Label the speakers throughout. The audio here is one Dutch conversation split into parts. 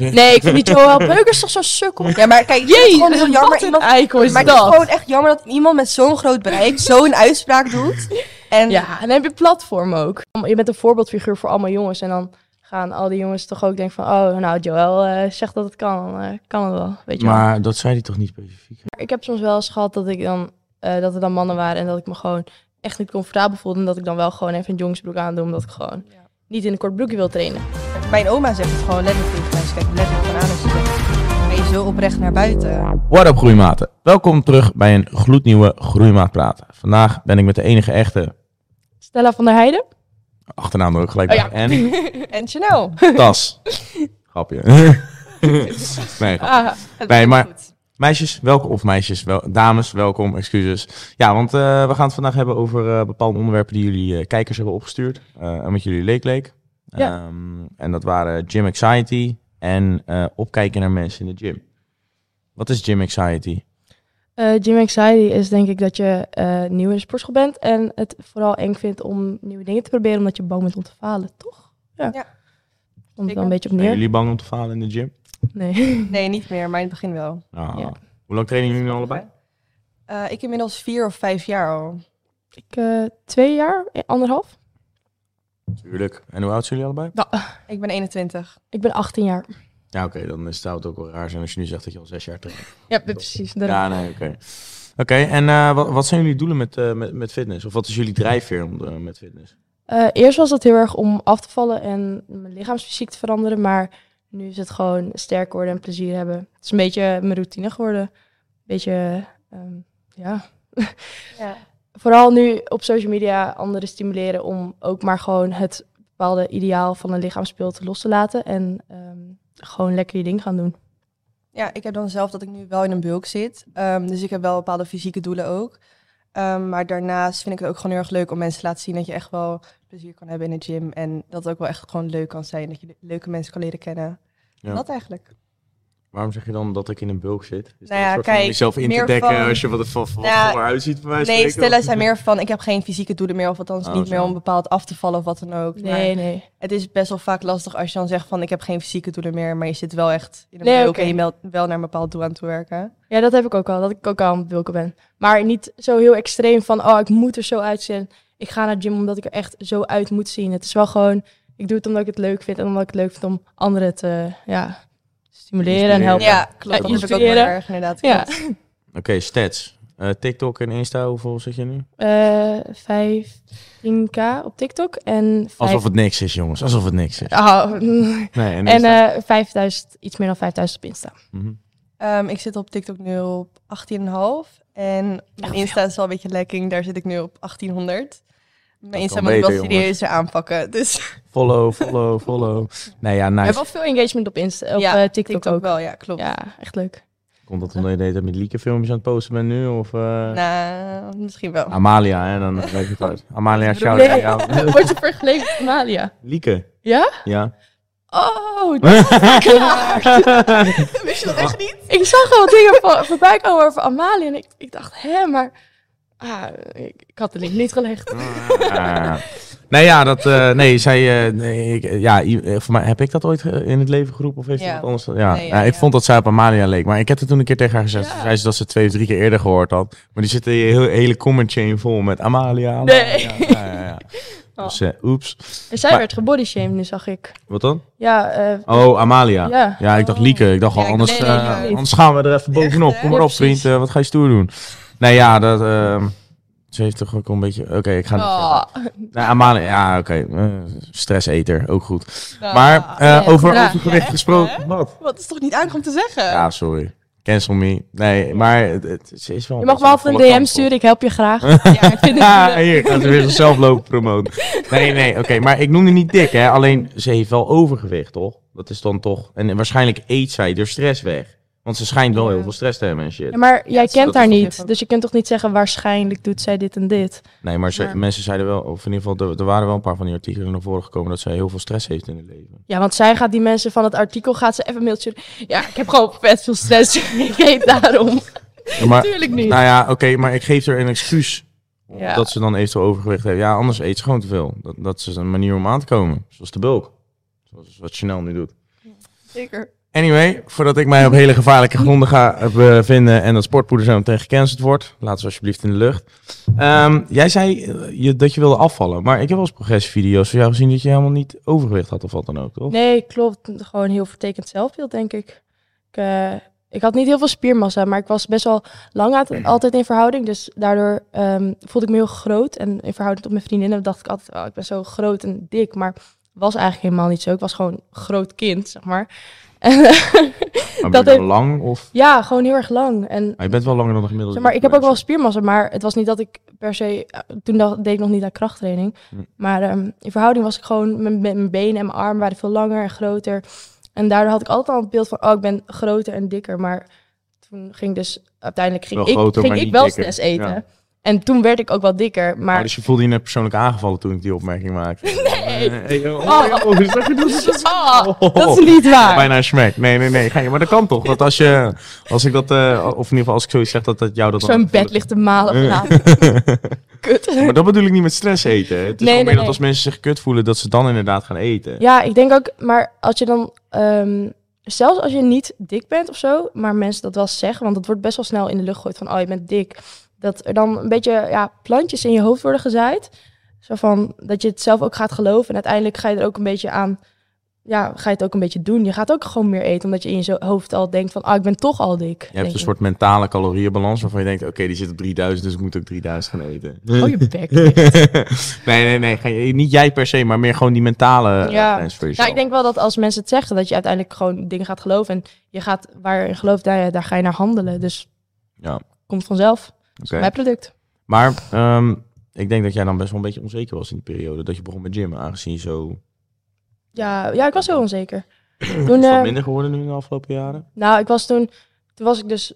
Speaker 1: Nee, ik vind die Joel Beukers toch zo'n sukkel.
Speaker 2: Ja, maar kijk, ik vind het
Speaker 1: Jee,
Speaker 2: gewoon heel jammer.
Speaker 1: wat een
Speaker 2: Iemand,
Speaker 1: eikel is
Speaker 2: maar het is
Speaker 1: dat.
Speaker 2: gewoon echt jammer dat iemand met zo'n groot bereik zo'n uitspraak doet. En
Speaker 1: Ja, en dan heb je platform ook. Je bent een voorbeeldfiguur voor allemaal jongens. En dan gaan al die jongens toch ook denken van... Oh, nou, Joel eh, zegt dat het kan. eh, kan het wel, weet je wel.
Speaker 3: Maar dat zei hij toch niet specifiek?
Speaker 1: Ik heb soms wel eens gehad dat, ik dan, eh, dat er dan mannen waren... en dat ik me gewoon echt niet comfortabel voelde. En dat ik dan wel gewoon even een jongensbroek aandoe... omdat ik gewoon niet in een kort broekje wil trainen.
Speaker 2: mijn oma zegt het gewoon letterlijk tegen mij. Ze kijkt me letterlijk van aan en ze zegt, ben je zo oprecht naar buiten?
Speaker 3: What up groeimaten? Welkom terug bij een gloednieuwe Groeimaat Praten. Vandaag ben ik met de enige echte,
Speaker 1: Stella van der Heijden?
Speaker 3: achternaam er ook gelijk
Speaker 1: Oh
Speaker 3: bij,
Speaker 1: ja.
Speaker 3: en
Speaker 2: En Chanel.
Speaker 3: Tas. Grapje. nee, grap.
Speaker 1: Ah,
Speaker 3: Nee, maar meisjes, welkom, of meisjes, wel, dames, welkom, excuses. Ja, want eh, we gaan het vandaag hebben over eh, bepaalde onderwerpen die jullie eh, kijkers hebben opgestuurd. eh, en wat jullie leek leek.
Speaker 1: Ja.
Speaker 3: Ehm, en dat waren gym anxiety en eh, opkijken naar mensen in de gym. Wat is gym anxiety?
Speaker 1: Eh, gym anxiety is denk ik dat je eh, nieuw in de sportschool bent en het vooral eng vindt om nieuwe dingen te proberen omdat je bang bent om te falen, toch? Ja.
Speaker 2: Ja.
Speaker 1: Komt er
Speaker 2: Zeker.
Speaker 1: wel een beetje op
Speaker 3: Zijn
Speaker 1: neer.
Speaker 3: jullie bang om te falen in de gym?
Speaker 1: Nee.
Speaker 2: Nee, niet meer, maar in het begin wel.
Speaker 3: Ah.
Speaker 1: Ja.
Speaker 3: Hoe lang trainen jullie nu allebei?
Speaker 2: Eh, ik inmiddels vier of vijf jaar al.
Speaker 1: Ik, eh, twee jaar, eh, anderhalf.
Speaker 3: Tuurlijk. En hoe oud zijn jullie allebei?
Speaker 2: Ik ben 21.
Speaker 1: Ik ben 18 jaar.
Speaker 3: Ja, oké, dan is- zou het ook wel raar zijn als je nu zegt dat je al zes jaar traint.
Speaker 1: Ja, precies.
Speaker 3: Ja, nee, oké. Oké, en eh, wat, wat zijn jullie doelen met, eh, met, met fitness? Of wat is jullie drijfveer om, eh, met fitness?
Speaker 1: Eh, eerst was dat heel erg om af te vallen en mijn lichaamsfysiek te veranderen, maar nu is het gewoon sterk worden en plezier hebben. Het is een beetje mijn routine geworden. Een beetje, ehm, ja,
Speaker 2: Ja.
Speaker 1: vooral nu op social media anderen stimuleren om ook maar gewoon het bepaalde ideaal van een lichaamsbeeld los te laten en ehm, gewoon lekker je ding gaan doen.
Speaker 2: Ja, ik heb dan zelf dat ik nu wel in een bulk zit. Ehm, dus ik heb wel bepaalde fysieke doelen ook. Ehm, maar daarnaast vind ik het ook gewoon heel erg leuk om mensen te laten zien dat je echt wel plezier kan hebben in de gym. En dat het ook wel echt gewoon leuk kan zijn. Dat je le- leuke mensen kan leren kennen.
Speaker 3: Ja.
Speaker 2: Dat eigenlijk.
Speaker 3: Waarom zeg je dan dat ik in een bulk zit? Is dat
Speaker 2: Nou ja,
Speaker 3: een soort van om
Speaker 2: kijk,
Speaker 3: jezelf in te
Speaker 2: meer
Speaker 3: dekken
Speaker 2: van-
Speaker 3: als je wat, wat, wat
Speaker 2: Nou,
Speaker 3: voor huis ziet bij wijze van
Speaker 2: Nee,
Speaker 3: spreken?
Speaker 2: Stella zijn meer van, ik heb geen fysieke doelen meer. Of althans
Speaker 3: Oh,
Speaker 2: niet meer
Speaker 3: zo.
Speaker 2: om bepaald af te vallen of wat dan ook. Maar
Speaker 1: Nee, nee.
Speaker 2: het is best wel vaak lastig als je dan zegt van, ik heb geen fysieke doelen meer. Maar je zit wel echt in een
Speaker 1: Nee,
Speaker 2: bulk
Speaker 1: oké.
Speaker 2: en je meldt wel naar een bepaald doel aan te werken.
Speaker 1: Ja, dat heb ik ook al, dat ik ook al aan het bulken ben. Maar niet zo heel extreem van, oh, ik moet er zo uitzien. Ik ga naar de gym omdat ik er echt zo uit moet zien. Het is wel gewoon, ik doe het omdat ik het leuk vind en omdat ik het leuk vind om anderen te ja, stimuleren en
Speaker 3: Inspireren.
Speaker 1: helpen.
Speaker 2: Ja, klopt.
Speaker 1: Ja,
Speaker 2: dat heb ik ook wel
Speaker 1: inspireren.
Speaker 2: erg inderdaad.
Speaker 1: Ja.
Speaker 2: klopt.
Speaker 3: Oké, stats. Eh, TikTok en Insta, hoeveel zit je nu?
Speaker 1: Eh 15k op TikTok en
Speaker 3: Alsof
Speaker 1: vijf-
Speaker 3: het niks is, jongens. Alsof het niks is.
Speaker 1: Oh,
Speaker 3: Nee, en,
Speaker 1: En
Speaker 3: Insta?
Speaker 1: eh, 5000, iets meer dan 5000 op Insta.
Speaker 3: Mhm.
Speaker 2: Ehm, ik zit op TikTok nu op 18,5. En mijn
Speaker 1: veel.
Speaker 2: Insta is wel een beetje lekking. Daar zit ik nu op 1800. Mijn
Speaker 3: kan
Speaker 2: Insta moet ik wel
Speaker 3: beter, jongens.
Speaker 2: serieuzer aanpakken. Dus
Speaker 3: Follow, follow, follow. Nee, ja,
Speaker 1: We
Speaker 3: nice.
Speaker 1: hebben al veel engagement op, Insta, op
Speaker 2: Ja,
Speaker 1: eh, TikTok,
Speaker 2: TikTok,
Speaker 1: ook.
Speaker 2: wel, ja, klopt.
Speaker 1: Ja, echt leuk.
Speaker 3: Komt dat omdat je de hele tijd met lieke filmpjes aan het posten bent nu? Of, eh,
Speaker 2: Nou, misschien wel.
Speaker 3: Amalia, hè? Dan weet ik het uit. Amalia, shout
Speaker 1: Nee.
Speaker 3: out aan jou.
Speaker 1: Word je vergeleken met Amalia?
Speaker 3: Lieke.
Speaker 1: Ja?
Speaker 3: Ja.
Speaker 1: Oh, dat is klaar.
Speaker 2: Wist je dat echt niet?
Speaker 1: ik zag al dingen van, voorbij komen over Amalia en ik, ik dacht, hè, maar... Ah, ik, ik had de link niet gelegd.
Speaker 3: Ah. Nee, ja, dat, eh, nee, zij, eh, nee, ik, eh, ja, i- eh, voor mij, heb ik dat ooit ge- in het leven geroepen of heeft
Speaker 2: Ja.
Speaker 3: iemand anders dat? Ja,
Speaker 2: Nee, ja,
Speaker 3: ja, ik
Speaker 2: ja.
Speaker 3: vond dat zij op Amalia leek, maar ik heb het toen een keer tegen haar gezegd. Ze zei ze dat ze twee of drie keer eerder gehoord had, maar die zitten hier heel hele comment chain vol met Amalia. Amalia.
Speaker 1: Nee.
Speaker 3: Ja, ja, ja.
Speaker 1: Oh.
Speaker 3: Dus, eh, oeps.
Speaker 1: En zij
Speaker 3: Maar-
Speaker 1: werd gebodyshamed, nu zag ik.
Speaker 3: Wat dan?
Speaker 1: Ja, eh,
Speaker 3: Oh, Amalia. Ja.
Speaker 1: ja.
Speaker 3: ik dacht Lieke. Ik dacht al,
Speaker 2: Ja, ik-
Speaker 3: anders,
Speaker 1: nee, nee,
Speaker 3: eh,
Speaker 1: nee.
Speaker 3: anders gaan we er even bovenop.
Speaker 2: hè?
Speaker 3: Kom maar
Speaker 1: Ja,
Speaker 3: op,
Speaker 1: precies.
Speaker 3: vriend. eh, wat ga je stoer doen? Nee, ja, dat, eh, ze heeft toch ook een beetje... Oké, ik ga niet verder.
Speaker 1: Oh,
Speaker 2: Ah.
Speaker 3: Nou, Amalia, ja, oké. eh, stresseter, ook goed.
Speaker 2: Nou,
Speaker 3: maar eh,
Speaker 1: ja,
Speaker 3: over
Speaker 1: ja,
Speaker 3: overgewicht gesproken. Wat?
Speaker 2: Wat is toch niet aardig om te zeggen?
Speaker 3: Ja, sorry. Cancel me. Nee, maar het, het- ze is wel.
Speaker 1: je mag me altijd een DM sturen, ik help je graag.
Speaker 2: Ja, ik vind het-
Speaker 3: Ja, hier gaat ze weer zichzelf lopen promoten. Nee, nee, oké. maar ik noemde niet dik, hè? Alleen ze heeft wel overgewicht, toch? Dat is dan toch. En waarschijnlijk eet zij door stress weg. Want ze schijnt wel
Speaker 2: Ja.
Speaker 3: heel veel stress te hebben en shit.
Speaker 1: Ja, maar jij
Speaker 2: dat
Speaker 1: kent
Speaker 2: is
Speaker 1: haar
Speaker 2: toch
Speaker 1: niet,
Speaker 2: even-
Speaker 1: dus je kunt toch niet zeggen waarschijnlijk doet zij dit en dit.
Speaker 3: Nee, maar, ze-
Speaker 1: Maar-
Speaker 3: mensen zeiden wel, of in ieder geval, er, er waren wel een paar van die artikelen naar voren gekomen dat zij heel veel stress heeft in het leven.
Speaker 1: Ja, want zij gaat die mensen van het artikel gaat ze even een mailtje. Ja, ik heb gewoon vet veel stress. ik heet daarom.
Speaker 3: Ja, maar
Speaker 1: Tuurlijk niet.
Speaker 3: Nou ja, oké, maar ik geef er een excuus
Speaker 1: Ja.
Speaker 3: dat ze dan eventueel overgewicht heeft. Ja, anders eet ze gewoon te veel. Dat, dat is een manier om aan te komen, zoals de bulk. Zoals wat Chanel nu doet.
Speaker 2: Zeker.
Speaker 3: Anyway, voordat ik mij op hele gevaarlijke gronden ga eh, bevinden en dat sportpoeder zo meteen gecanceld wordt, laat ze alsjeblieft in de lucht. Ehm, jij zei eh, je, dat je wilde afvallen, maar ik heb wel eens progressievideo's van jou gezien dat je helemaal niet overgewicht had of wat dan ook, toch?
Speaker 1: Nee, klopt. Gewoon heel vertekend zelfbeeld, denk ik. Ik, eh, ik had niet heel veel spiermassa, maar ik was best wel lang aan- altijd in verhouding. Dus daardoor ehm, voelde ik me heel groot. En in verhouding tot mijn vriendinnen dacht ik altijd, oh, ik ben zo groot en dik. Maar was eigenlijk helemaal niet zo. Ik was gewoon een groot kind, zeg maar. En,
Speaker 3: Maar
Speaker 1: eh, dat
Speaker 3: ben je
Speaker 1: heeft-
Speaker 3: dan lang of...
Speaker 1: ja, gewoon heel erg lang. En
Speaker 3: Maar je bent wel langer dan de gemiddelde.
Speaker 1: Zeg maar, ik heb ook wel spiermassa, maar het was niet dat ik per se... eh, Toen dacht- deed ik nog niet aan krachttraining.
Speaker 3: Hm.
Speaker 1: Maar ehm, in verhouding was ik gewoon... Mijn, mijn benen en mijn armen waren veel langer en groter. En daardoor had ik altijd al het beeld van... Oh, ik ben groter en dikker. Maar toen ging dus... Uiteindelijk ging
Speaker 3: Wel
Speaker 1: ik,
Speaker 3: groter,
Speaker 1: ging
Speaker 3: maar
Speaker 1: ik
Speaker 3: niet
Speaker 1: wel
Speaker 3: dikker.
Speaker 1: stress eten.
Speaker 3: Ja.
Speaker 1: En toen werd ik ook wel dikker. Maar
Speaker 3: Oh, dus je voelde je net persoonlijk aangevallen toen ik die opmerking maakte?
Speaker 1: Nee.
Speaker 3: Eh, eh, joh.
Speaker 1: Oh.
Speaker 3: Oh, oh, zeg je dat? is- dat is-
Speaker 1: Ah,
Speaker 3: Oh.
Speaker 1: dat is niet waar.
Speaker 3: Bijna een smack. Nee, nee, nee. Geen, maar dat kan toch? Dat als je, als ik dat, eh, of in ieder geval als ik zoiets zeg, dat, dat jou dat
Speaker 1: ik zo in bed ligt te malen vanavond. Kut.
Speaker 3: Maar dat bedoel ik niet met stress eten. hè. Het is
Speaker 1: Nee,
Speaker 3: gewoon meer
Speaker 1: nee,
Speaker 3: dat
Speaker 1: nee.
Speaker 3: als mensen zich kut voelen, dat ze dan inderdaad gaan eten.
Speaker 1: Ja, ik denk ook, maar als je dan, ehm, zelfs als je niet dik bent of zo, maar mensen dat wel zeggen, want dat wordt best wel snel in de lucht gegooid van, oh je bent dik. Dat er dan een beetje ja, plantjes in je hoofd worden gezaaid. Zo van dat je het zelf ook gaat geloven en uiteindelijk ga je er ook een beetje aan, ja, ga je het ook een beetje doen. Je gaat ook gewoon meer eten, omdat je in je zo- hoofd al denkt van, ah ik ben toch al dik.
Speaker 3: Je hebt
Speaker 1: denk
Speaker 3: een
Speaker 1: ik.
Speaker 3: soort mentale calorieënbalans waarvan je denkt, oké, die zit op 3000, dus ik moet ook 3000 gaan eten.
Speaker 1: Oh je bek.
Speaker 3: nee, nee, nee. geen- Niet jij per se, maar meer gewoon die mentale eh,
Speaker 1: Ja.
Speaker 3: grens voor
Speaker 1: Nou,
Speaker 3: jezelf.
Speaker 1: ik denk wel dat als mensen het zeggen, dat je uiteindelijk gewoon dingen gaat geloven. En je gaat waar je in gelooft, daar, daar ga je naar handelen. Dus
Speaker 3: Ja.
Speaker 1: komt vanzelf.
Speaker 3: Oké.
Speaker 1: Mijn product.
Speaker 3: Maar ehm, ik denk dat jij dan best wel een beetje onzeker was in die periode. Dat je begon met gym, aangezien je zo...
Speaker 1: Ja, ja, ik was heel onzeker.
Speaker 3: Is
Speaker 1: Toen,
Speaker 3: dat
Speaker 1: eh,
Speaker 3: minder geworden nu in de afgelopen jaren?
Speaker 1: nou, ik was toen, toen was ik dus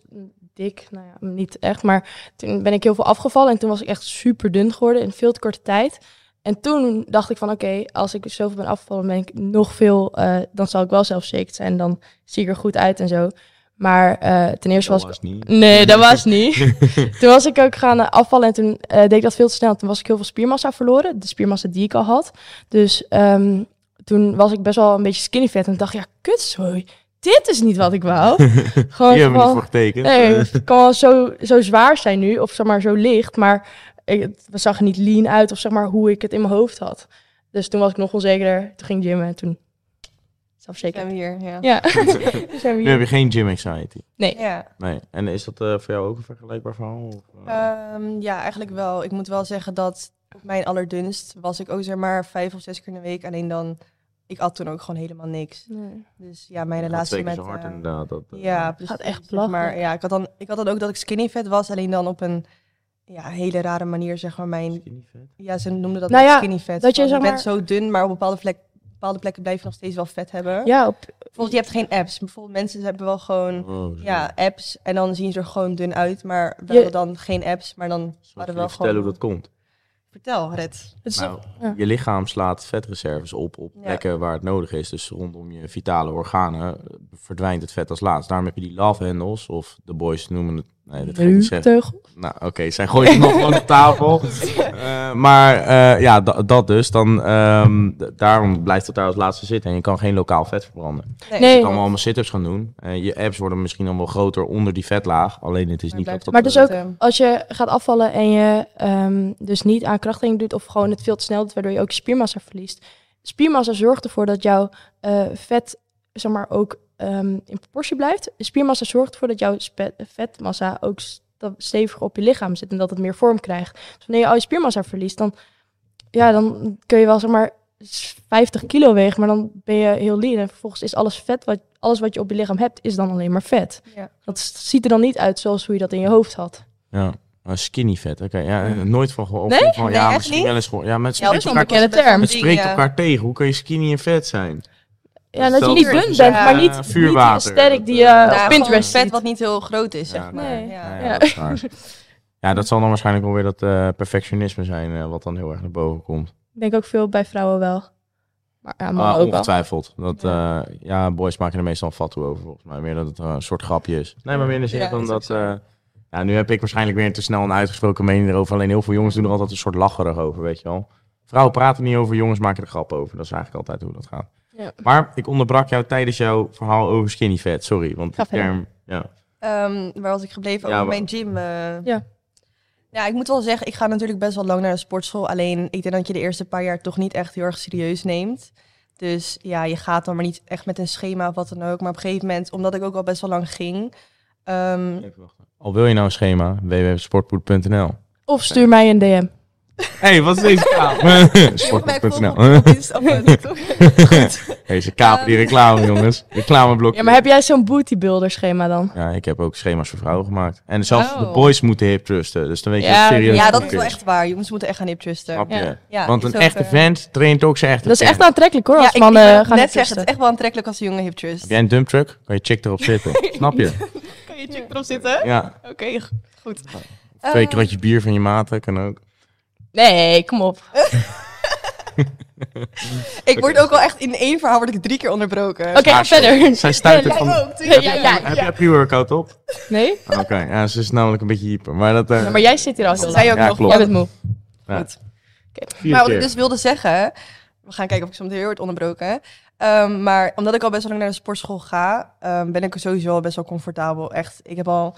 Speaker 1: dik, nou ja, niet echt, maar toen ben ik heel veel afgevallen en toen was ik echt super dun geworden in veel te korte tijd. En toen dacht ik van, oké, als ik zoveel ben afgevallen, ben ik nog veel, eh, dan zal ik wel zelfverzekerd zijn, dan zie ik er goed uit en zo. Maar eh, ten eerste was ik
Speaker 3: het Oh, niet.
Speaker 1: Nee, dat was niet. toen was ik ook gaan eh, afvallen en toen eh, deed ik dat veel te snel. Toen was ik heel veel spiermassa verloren. De spiermassa die ik al had. Dus ehm, toen was ik best wel een beetje skinny fat. En dacht ik, ja, kutzooi. Dit is niet wat ik wou. Gewoon
Speaker 3: Hier hebben we niet
Speaker 1: van,
Speaker 3: voor getekend. Eh,
Speaker 1: nee, het kan wel zo, zo zwaar zijn nu. Of zeg maar zo licht. Maar ik, het we zag er niet lean uit. Of zeg maar hoe ik het in mijn hoofd had. Dus toen was ik nog onzekerder. Toen ging ik gymmen en toen...
Speaker 2: Zijn
Speaker 1: Zelfzeker.
Speaker 2: we hier, ja.
Speaker 1: Ja, Toen
Speaker 3: Nu
Speaker 1: zijn we
Speaker 3: heb
Speaker 1: hier.
Speaker 3: je geen gym anxiety.
Speaker 1: Nee.
Speaker 2: Ja.
Speaker 3: Nee. En is dat eh, voor jou ook een vergelijkbaar verhaal? Of, eh?
Speaker 2: Ehm, ja, eigenlijk wel. Ik moet wel zeggen dat op mijn allerdunst was ik ook zeg maar vijf of zes keer in de week. Alleen dan, ik at toen ook gewoon helemaal niks.
Speaker 1: Nee.
Speaker 2: Dus ja, mijn
Speaker 3: Dat
Speaker 2: relatie
Speaker 3: twee keer
Speaker 2: met...
Speaker 3: zo hard
Speaker 2: eh,
Speaker 3: inderdaad. Dat, eh,
Speaker 2: ja, precies.
Speaker 1: Gaat echt
Speaker 2: zeg Maar
Speaker 1: belachelijk.
Speaker 2: ja, ik had, dan, ik had dan ook dat ik skinny fat was. Alleen dan op een ja, hele rare manier zeg maar mijn...
Speaker 3: skinny fat.
Speaker 2: Ja, ze noemden dat
Speaker 1: Nou ja,
Speaker 2: skinny fat.
Speaker 1: dat je,
Speaker 2: Van,
Speaker 1: zeg
Speaker 2: bent
Speaker 1: maar-
Speaker 2: zo dun, maar op bepaalde, plek, bepaalde plekken blijf je nog steeds wel vet hebben.
Speaker 1: Ja, op,
Speaker 2: Bijvoorbeeld, je hebt geen apps. Bijvoorbeeld, mensen hebben wel gewoon...
Speaker 3: Oh, zo.
Speaker 2: Ja, apps. En dan zien ze er gewoon dun uit. Maar we
Speaker 1: Je-
Speaker 2: hadden dan geen apps. Maar dan
Speaker 3: Zal ik
Speaker 2: hadden
Speaker 3: je
Speaker 2: we wel
Speaker 3: vertellen
Speaker 2: gewoon...
Speaker 3: hoe dat komt?
Speaker 2: Vertel, Red.
Speaker 1: het is
Speaker 3: Nou,
Speaker 1: Dus- ja.
Speaker 3: Je lichaam slaat vetreserves op op
Speaker 2: Ja.
Speaker 3: plekken waar het nodig is. Dus rondom je vitale organen eh, verdwijnt het vet als laatst. Daarom heb je die love handles, of de boys noemen het... Nee, dat ga ik niet zeggen.
Speaker 1: Teugel.
Speaker 3: Nou, oké, zij gooit hem nog gewoon op tafel. Eh, maar eh, ja, da- dat dus. Dan, ehm, d- daarom blijft het daar als laatste zitten. En je kan geen lokaal vet verbranden.
Speaker 1: Nee.
Speaker 3: Je kan wel allemaal sit-ups gaan doen. Eh, je apps worden misschien dan wel groter onder die vetlaag. Alleen het is niet dat
Speaker 2: blijft
Speaker 3: dat...
Speaker 1: Maar dus
Speaker 3: eh,
Speaker 1: ook als je gaat afvallen en je ehm, dus niet aan krachttraining doet of gewoon het veel te snel doet, waardoor je ook spiermassa verliest. Spiermassa zorgt ervoor dat jouw eh, vet zeg maar, ook ehm, in proportie blijft. Spiermassa zorgt ervoor dat jouw spe- vetmassa ook sta- steviger op je lichaam zit en dat het meer vorm krijgt. Dus wanneer je al je spiermassa verliest, dan, ja, dan kun je wel zeg maar 50 kilo wegen, maar dan ben je heel lean. En vervolgens is alles vet, wat, alles wat je op je lichaam hebt, is dan alleen maar vet.
Speaker 2: Ja.
Speaker 1: Dat s- ziet er dan niet uit zoals hoe je dat in je hoofd had.
Speaker 3: Ja, eh, skinny vet. Oké, ja, eh, nooit van gehoord.
Speaker 1: Nee?
Speaker 3: Van,
Speaker 2: Nee,
Speaker 3: ja,
Speaker 2: echt
Speaker 3: misschien
Speaker 2: niet?
Speaker 3: wel eens gehoord. Ja, maar het
Speaker 1: dat
Speaker 3: spreekt,
Speaker 1: is wel
Speaker 3: elkaar,
Speaker 1: bekende term.
Speaker 3: het spreekt elkaar tegen. Hoe kun je skinny en vet zijn?
Speaker 1: Ja, dat je
Speaker 3: Stel-
Speaker 1: niet dun
Speaker 3: Ja,
Speaker 1: bent, maar niet, niet die
Speaker 3: vuurwater. eh,
Speaker 1: sterk die je
Speaker 3: Ja,
Speaker 1: op Pinterest
Speaker 2: vet
Speaker 1: ziet.
Speaker 2: wat niet heel groot is,
Speaker 3: Ja,
Speaker 2: zeg maar.
Speaker 1: nee.
Speaker 2: Ja.
Speaker 3: Ja,
Speaker 1: Ja.
Speaker 3: ja, dat is waar. Ja, dat zal dan waarschijnlijk wel weer dat eh, perfectionisme zijn, eh, wat dan heel erg naar boven komt.
Speaker 1: Ik denk ook veel bij vrouwen wel. Maar ja,
Speaker 3: Ah,
Speaker 1: mannen ook wel.
Speaker 3: ongetwijfeld. Dat, eh, ja, boys maken er meestal een fatsoen over, volgens mij. Meer dat het eh, een soort grapje is. Nee, maar meer in de zin
Speaker 2: Ja,
Speaker 3: van
Speaker 2: is ook
Speaker 3: dat...
Speaker 2: zo.
Speaker 3: eh, ja, nu heb ik waarschijnlijk weer te snel een uitgesproken mening erover. Alleen heel veel jongens doen er altijd een soort lacherig over, weet je wel. Vrouwen praten niet over, jongens maken er grap over. Dat is eigenlijk altijd hoe dat gaat.
Speaker 1: Ja.
Speaker 3: Maar ik onderbrak jou tijdens jouw verhaal over skinny fat. Sorry, want
Speaker 1: Ga
Speaker 3: die term... Ja.
Speaker 2: Ehm, waar was ik gebleven?
Speaker 3: Ja,
Speaker 2: Over
Speaker 3: wa-
Speaker 2: mijn gym. eh.
Speaker 1: Ja.
Speaker 2: Ja, ik moet wel zeggen, ik ga natuurlijk best wel lang naar de sportschool. Alleen, ik denk dat je de eerste paar jaar toch niet echt heel erg serieus neemt. Dus ja, je gaat dan maar niet echt met een schema of wat dan ook. Maar op een gegeven moment, omdat ik ook al best wel lang ging... ehm,
Speaker 3: Even wachten. Al wil je nou een schema, www.sportpoed.nl.
Speaker 1: Of stuur mij een DM.
Speaker 3: Hé, hey, wat is deze kaap? Sportpoed.nl.
Speaker 2: Volgende podcast uploaden, toch?
Speaker 3: Deze kaap, die reclame, jongens. Reclameblokje.
Speaker 1: Ja, maar heb jij zo'n bodybuilder schema dan?
Speaker 3: Ja, ik heb ook schema's voor vrouwen gemaakt. En zelfs
Speaker 1: Oh.
Speaker 3: de boys moeten hip trusten. Dus dan weet je
Speaker 1: Ja,
Speaker 3: dat het serieus
Speaker 2: ja, dat
Speaker 3: ook
Speaker 2: is wel echt waar. Jongens moeten echt gaan hip trusten.
Speaker 3: Snap je?
Speaker 1: Ja.
Speaker 2: Ja,
Speaker 3: Want
Speaker 2: is
Speaker 3: een
Speaker 2: ook,
Speaker 3: echte
Speaker 2: eh,
Speaker 3: vent traint ook zijn echte
Speaker 1: Dat is echt
Speaker 3: trainer.
Speaker 1: aantrekkelijk hoor,
Speaker 2: Ja,
Speaker 1: als
Speaker 2: ik,
Speaker 1: mannen
Speaker 2: ik wou
Speaker 1: gaan
Speaker 2: net
Speaker 1: hiprusten.
Speaker 2: zeggen, het is echt wel aantrekkelijk als een jongen hip trust.
Speaker 3: Heb jij een dump truck? Kan je chick erop zitten. Snap je?
Speaker 2: Kan je chick erop zitten?
Speaker 3: Ja.
Speaker 2: Oké, goed. Oh.
Speaker 3: Twee kratje bier van je maten kan ook.
Speaker 1: Nee, kom op.
Speaker 2: Ik word ook wel echt in één verhaal word ik drie keer onderbroken.
Speaker 1: Oké, ga verder.
Speaker 3: Zij stuit het
Speaker 1: Ja,
Speaker 3: van...
Speaker 2: ook,
Speaker 1: Ja, ja, ja.
Speaker 3: Heb jij pre-workout op? Ah,
Speaker 1: Nee?
Speaker 3: Oké, ja, ze is namelijk een beetje hyper. Maar dat... eh,
Speaker 1: Ja, maar jij zit hier al zo
Speaker 2: Dat
Speaker 1: lang.
Speaker 2: zei je ook
Speaker 3: Ja,
Speaker 2: nog.
Speaker 3: klopt.
Speaker 1: Jij bent moe.
Speaker 3: ja,
Speaker 2: goed.
Speaker 3: vier
Speaker 2: Maar wat
Speaker 3: keer.
Speaker 2: ik dus wilde zeggen, we gaan kijken of ik soms heel hard onderbroken. Ehm, maar omdat ik al best wel lang naar de sportschool ga, ehm, ben ik er sowieso al best wel comfortabel. Echt, ik heb al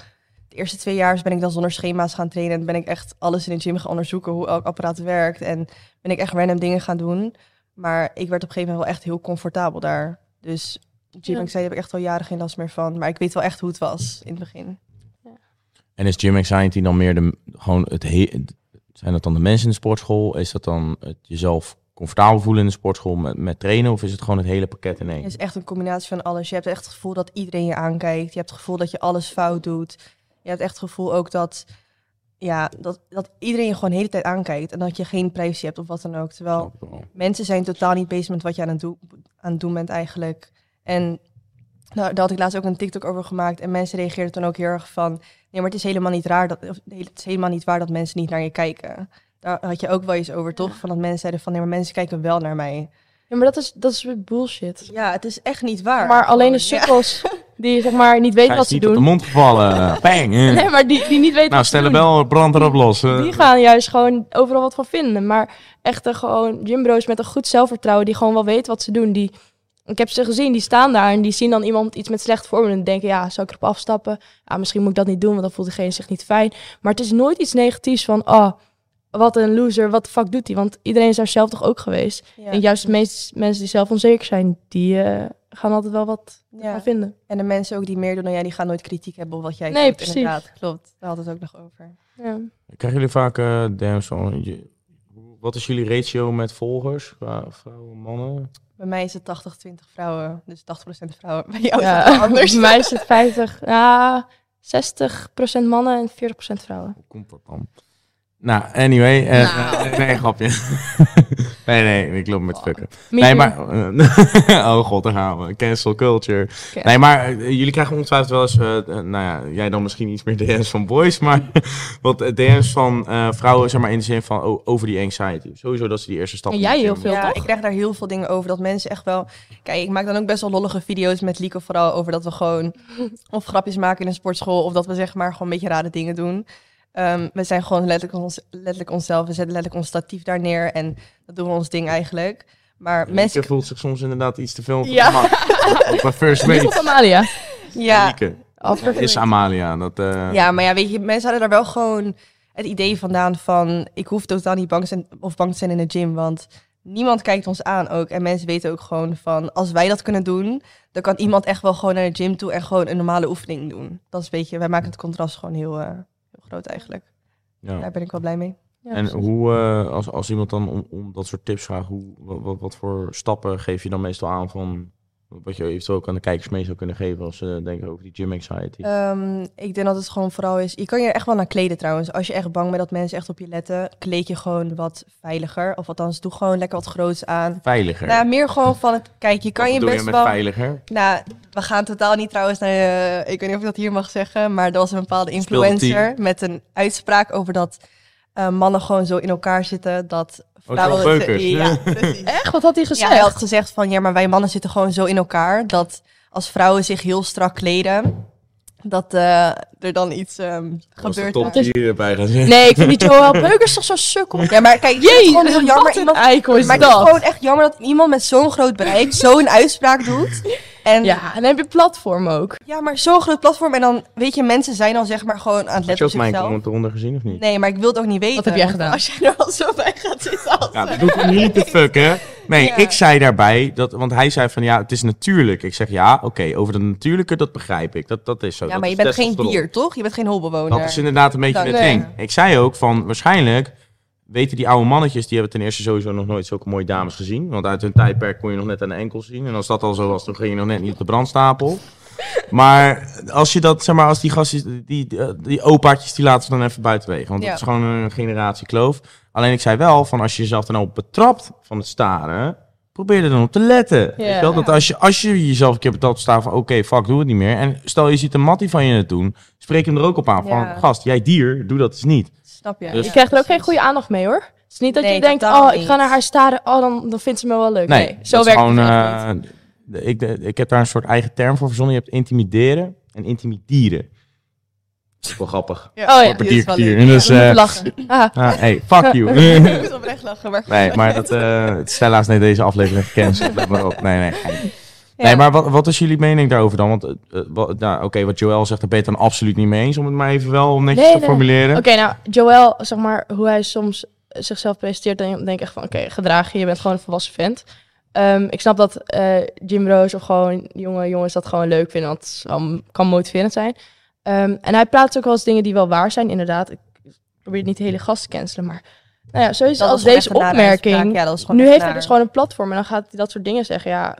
Speaker 2: de eerste twee jaar ben ik dan zonder schema's gaan trainen en ben ik echt alles in de gym gaan onderzoeken hoe elk apparaat werkt en ben ik echt random dingen gaan doen. Maar ik werd op een gegeven moment wel echt heel comfortabel daar. Dus gym,
Speaker 1: Ja.
Speaker 2: ik zei, daar heb ik echt al jaren geen last meer van. Maar ik weet wel echt hoe het was in het begin.
Speaker 3: En is gym anxiety dan meer de, gewoon het he- zijn dat dan de mensen in de sportschool? Is dat dan het jezelf comfortabel voelen in de sportschool met, met trainen? Of is het gewoon het hele pakket in één?
Speaker 2: Het is echt een combinatie van alles. Je hebt echt het gevoel dat iedereen je aankijkt. Je hebt het gevoel dat je alles fout doet. Je hebt echt het gevoel ook dat, ja, dat, dat iedereen je gewoon de hele tijd aankijkt. En dat je geen privacy hebt of wat dan ook. Terwijl mensen zijn totaal niet bezig met wat je aan het, doen- aan het doen bent eigenlijk. En nou, daar had ik laatst ook een TikTok over gemaakt. En mensen reageerden toen ook heel erg van... Nee, maar het is helemaal niet, raar dat, of, nee, het is helemaal niet waar dat mensen niet naar je kijken. Daar had je ook wel eens over, toch? Van dat mensen zeiden van... Nee, maar mensen kijken wel naar mij.
Speaker 1: Ja, maar dat is, dat is weer bullshit.
Speaker 2: Ja, het is echt niet waar.
Speaker 1: Maar alleen de
Speaker 2: Gewoon, ja.
Speaker 1: sukkels die zeg maar niet weten
Speaker 3: Hij is
Speaker 1: wat ze
Speaker 3: niet op de
Speaker 1: doen.
Speaker 3: mond gevallen. Bang! eh.
Speaker 1: Nee, maar die, die niet
Speaker 3: nou,
Speaker 1: weten wat ze
Speaker 3: stel
Speaker 1: doen.
Speaker 3: wel, brand erop los. eh.
Speaker 1: Die gaan juist gewoon overal wat van vinden. Maar echte gewoon gymbro's met een goed zelfvertrouwen die gewoon wel weten wat ze doen. Die, ik heb ze gezien, die staan daar en die zien dan iemand iets met slecht vorm. En denken, ja, zou ik erop afstappen? Ja, misschien moet ik dat niet doen, want dan voelt diegene zich niet fijn. Maar het is nooit iets negatiefs van, oh, wat een loser, wat de fuck doet hij? Want iedereen is daar zelf toch ook geweest?
Speaker 2: Ja.
Speaker 1: En juist de meeste mensen die zelf onzeker zijn, die eh, gaan altijd wel wat
Speaker 2: Ja.
Speaker 1: van vinden.
Speaker 2: En de mensen ook die meer doen dan jij, die gaan nooit kritiek hebben op wat jij
Speaker 1: Nee,
Speaker 2: doet.
Speaker 1: precies.
Speaker 2: Inderdaad, klopt. Daar hadden we het ook nog over.
Speaker 1: Ja.
Speaker 3: Krijgen jullie vaak eh DM's van... je- Wat is jullie ratio met volgers? Qua vrouwen, mannen?
Speaker 2: Bij mij is het 80-20 vrouwen, dus 80% vrouwen. Bij jou Oh, is het
Speaker 1: Ja,
Speaker 2: wel anders.
Speaker 1: Bij mij is het 50, ja, 60% mannen en 40% vrouwen.
Speaker 3: Hoe komt dat dan? Nou, anyway. eh,
Speaker 1: Nou.
Speaker 3: eh, nee, grapje. nee, nee, ik loop
Speaker 1: Oh,
Speaker 3: met fucken.
Speaker 1: Me
Speaker 3: nee,
Speaker 1: too.
Speaker 3: maar... oh god, daar gaan we. Cancel culture.
Speaker 1: Oké.
Speaker 3: Nee, maar eh, jullie krijgen ongetwijfeld wel eens... eh, eh, nou ja, jij dan misschien iets meer DM's van boys, maar... wat eh, DM's van eh, vrouwen, zeg maar, in de zin van oh, over die anxiety. Sowieso dat ze die eerste stap...
Speaker 1: En jij
Speaker 3: niet
Speaker 1: heel
Speaker 3: doen.
Speaker 1: veel,
Speaker 2: ja,
Speaker 1: toch?
Speaker 2: ik krijg daar heel veel dingen over. Dat mensen echt wel. Kijk, ik maak dan ook best wel lollige video's met Lieke, vooral over dat we gewoon. of grapjes maken in een sportschool. of dat we zeg maar gewoon een beetje rare dingen doen. Ehm, we zijn gewoon letterlijk, ons, letterlijk onszelf. We zetten letterlijk ons statief daar neer. en dat doen we ons ding eigenlijk. Maar
Speaker 3: Lieke
Speaker 2: mensen.
Speaker 3: voelt eh, zich soms inderdaad iets te veel op de
Speaker 1: Ja.
Speaker 3: gemak. Op een first
Speaker 1: Niet
Speaker 3: date.
Speaker 1: op Amalia.
Speaker 2: Ja,
Speaker 3: Lieke
Speaker 1: Af-
Speaker 3: is Amalia. Dat, eh,
Speaker 2: Ja, maar ja, weet je, mensen hadden daar wel gewoon het idee vandaan van... ik hoef totaal niet bang, zijn, of bang te zijn in de gym, want niemand kijkt ons aan ook. En mensen weten ook gewoon van, als wij dat kunnen doen... dan kan iemand echt wel gewoon naar de gym toe en gewoon een normale oefening doen. Dat is een beetje, wij maken het contrast gewoon heel, eh, heel groot eigenlijk.
Speaker 3: ja.
Speaker 2: Daar ben ik wel blij mee.
Speaker 1: Ja,
Speaker 3: En
Speaker 1: precies.
Speaker 3: hoe, eh, als, als iemand dan om, om dat soort tips vraagt, hoe, wat, wat, wat voor stappen geef je dan meestal aan van wat je eventueel ook aan de kijkers mee zou kunnen geven als ze denken over die gym anxiety?
Speaker 2: Ehm, ik denk dat het gewoon vooral is. Je kan je echt wel naar kleden trouwens. Als je echt bang bent dat mensen echt op je letten, kleed je gewoon wat veiliger. Of althans, doe gewoon lekker wat groots aan.
Speaker 3: veiliger.
Speaker 2: Nou, meer gewoon van het. Kijk, je kan
Speaker 3: wat
Speaker 2: je
Speaker 3: bedoel
Speaker 2: best
Speaker 3: je met
Speaker 2: wel.
Speaker 3: veiliger?
Speaker 2: Nou, we gaan totaal niet trouwens naar. eh, ik weet niet of ik dat hier mag zeggen, maar er was een bepaalde
Speaker 3: Speel de
Speaker 2: influencer met een uitspraak over dat eh, mannen gewoon zo in elkaar zitten dat
Speaker 3: John Beukers.
Speaker 2: ja, precies.
Speaker 1: Echt? Wat had hij
Speaker 2: Ja, hij had
Speaker 1: gezegd?
Speaker 2: gezegd van ja, maar wij mannen zitten gewoon zo in elkaar dat als vrouwen zich heel strak kleden, dat eh, er dan iets ehm, gebeurt.
Speaker 3: top
Speaker 2: daar.
Speaker 3: erbij gaan zitten.
Speaker 1: Nee, ik vind die Joel Beukers toch zo sukkel.
Speaker 2: Ja, maar kijk, ik vind het
Speaker 1: Jee,
Speaker 2: gewoon heel jammer.
Speaker 1: wat een
Speaker 2: Iemand,
Speaker 1: eikel is
Speaker 2: maar ik vind het
Speaker 1: dat.
Speaker 2: gewoon echt jammer dat iemand met zo'n groot bereik zo'n uitspraak doet. En ja.
Speaker 1: Ja, en dan heb je platform ook.
Speaker 2: maar zo'n groot platform. En dan, weet je, mensen zijn al zeg maar gewoon aan het
Speaker 3: Heb je
Speaker 2: letten op
Speaker 3: ook mijn
Speaker 2: zichzelf.
Speaker 3: comment eronder gezien of niet?
Speaker 2: Nee, maar ik wil het ook niet weten.
Speaker 1: Wat heb jij
Speaker 2: want
Speaker 1: gedaan?
Speaker 2: Als jij er al zo bij gaat zitten. als-
Speaker 3: Ja, dat doet hem niet te fuck, hè? Nee,
Speaker 2: Ja.
Speaker 3: ik zei daarbij, dat, want hij zei van ja, het is natuurlijk. Ik zeg ja, oké, over dat natuurlijke, dat begrijp ik. Dat, dat is zo.
Speaker 2: Ja,
Speaker 3: Oh, Dat
Speaker 2: maar je
Speaker 3: is
Speaker 2: bent geen
Speaker 3: testosteron.
Speaker 2: dier, toch? Je bent geen hobbelwoner.
Speaker 3: Dat is inderdaad een beetje
Speaker 2: Nee.
Speaker 3: het ding. Ik zei ook van waarschijnlijk weten die oude mannetjes, die hebben ten eerste sowieso nog nooit zulke mooie dames gezien. Want uit hun tijdperk kon je nog net aan de enkel zien. En als dat al zo was, dan ging je nog net niet op de brandstapel. Maar als je dat, zeg maar, als die gastjes, die, die, eh, die opaatjes, die laten we dan even buitenwege. Want
Speaker 2: Ja.
Speaker 3: dat is gewoon een generatie kloof. Alleen ik zei wel, van als je jezelf dan op betrapt van het staren, probeer er dan op te letten.
Speaker 1: Ja.
Speaker 3: Weet je wel? Dat als, je, als je jezelf een keer betaalt te staan van oké, fuck, doe het niet meer. En stel je ziet een mattie van je het doen, spreek hem er ook op aan.
Speaker 2: Ja.
Speaker 3: Van gast, jij dier, doe dat eens niet.
Speaker 2: Snap je?
Speaker 3: Dus-
Speaker 1: Je krijgt er ook geen goede aandacht mee hoor. Het is niet dat
Speaker 2: Nee,
Speaker 1: je denkt,
Speaker 2: totaal
Speaker 1: oh, ik
Speaker 2: niet.
Speaker 1: ga naar haar staren, oh, dan, dan vindt ze me wel leuk.
Speaker 3: Nee,
Speaker 1: Nee,
Speaker 3: dat
Speaker 1: zo
Speaker 3: is
Speaker 1: werkt
Speaker 3: gewoon,
Speaker 1: het echt niet.
Speaker 3: eh, de- ik, de- ik heb daar een soort eigen term voor verzonnen. Je hebt intimideren en intimideren. Dat is wel grappig.
Speaker 1: Oh ja.
Speaker 2: Die is wel
Speaker 3: Dierkwartier.
Speaker 2: leuk.
Speaker 3: En dus,
Speaker 1: Je moet
Speaker 3: eh,
Speaker 1: lachen. Ah,
Speaker 3: ah, hey, fuck you.
Speaker 2: Ik moet oprecht lachen, maar...
Speaker 3: nee, maar dat eh, het is helaas nee, deze aflevering gecanceld. Let maar op. Nee, nee. gein.
Speaker 2: Ja.
Speaker 3: Nee, maar wat, wat is jullie mening daarover dan? Want eh, eh, wat- nou, oké, wat Joël zegt, daar ben je het dan absoluut niet mee eens. Om het maar even wel netjes
Speaker 1: Nee,
Speaker 3: te
Speaker 1: nee.
Speaker 3: formuleren.
Speaker 1: Oké, nou, Joël, zeg maar, hoe hij soms zichzelf presenteert, dan denk ik echt van, oké, gedraag je, je bent gewoon een volwassen vent. Ehm, ik snap dat eh, Jim Rose of gewoon jonge jongens dat gewoon leuk vinden, want het is wel- kan motiverend zijn. Ehm, en hij praat ook wel eens dingen die wel waar zijn, inderdaad. Ik probeer niet de hele gast te cancelen, maar nou ja, sowieso
Speaker 2: Dat was
Speaker 1: als
Speaker 2: gewoon
Speaker 1: deze
Speaker 2: echt een nare uitspraak.
Speaker 1: opmerking.
Speaker 2: Ja, dat was gewoon
Speaker 1: nu
Speaker 2: echt
Speaker 1: heeft hij
Speaker 2: naar.
Speaker 1: dus gewoon een platform en dan gaat hij dat soort dingen zeggen. Ja,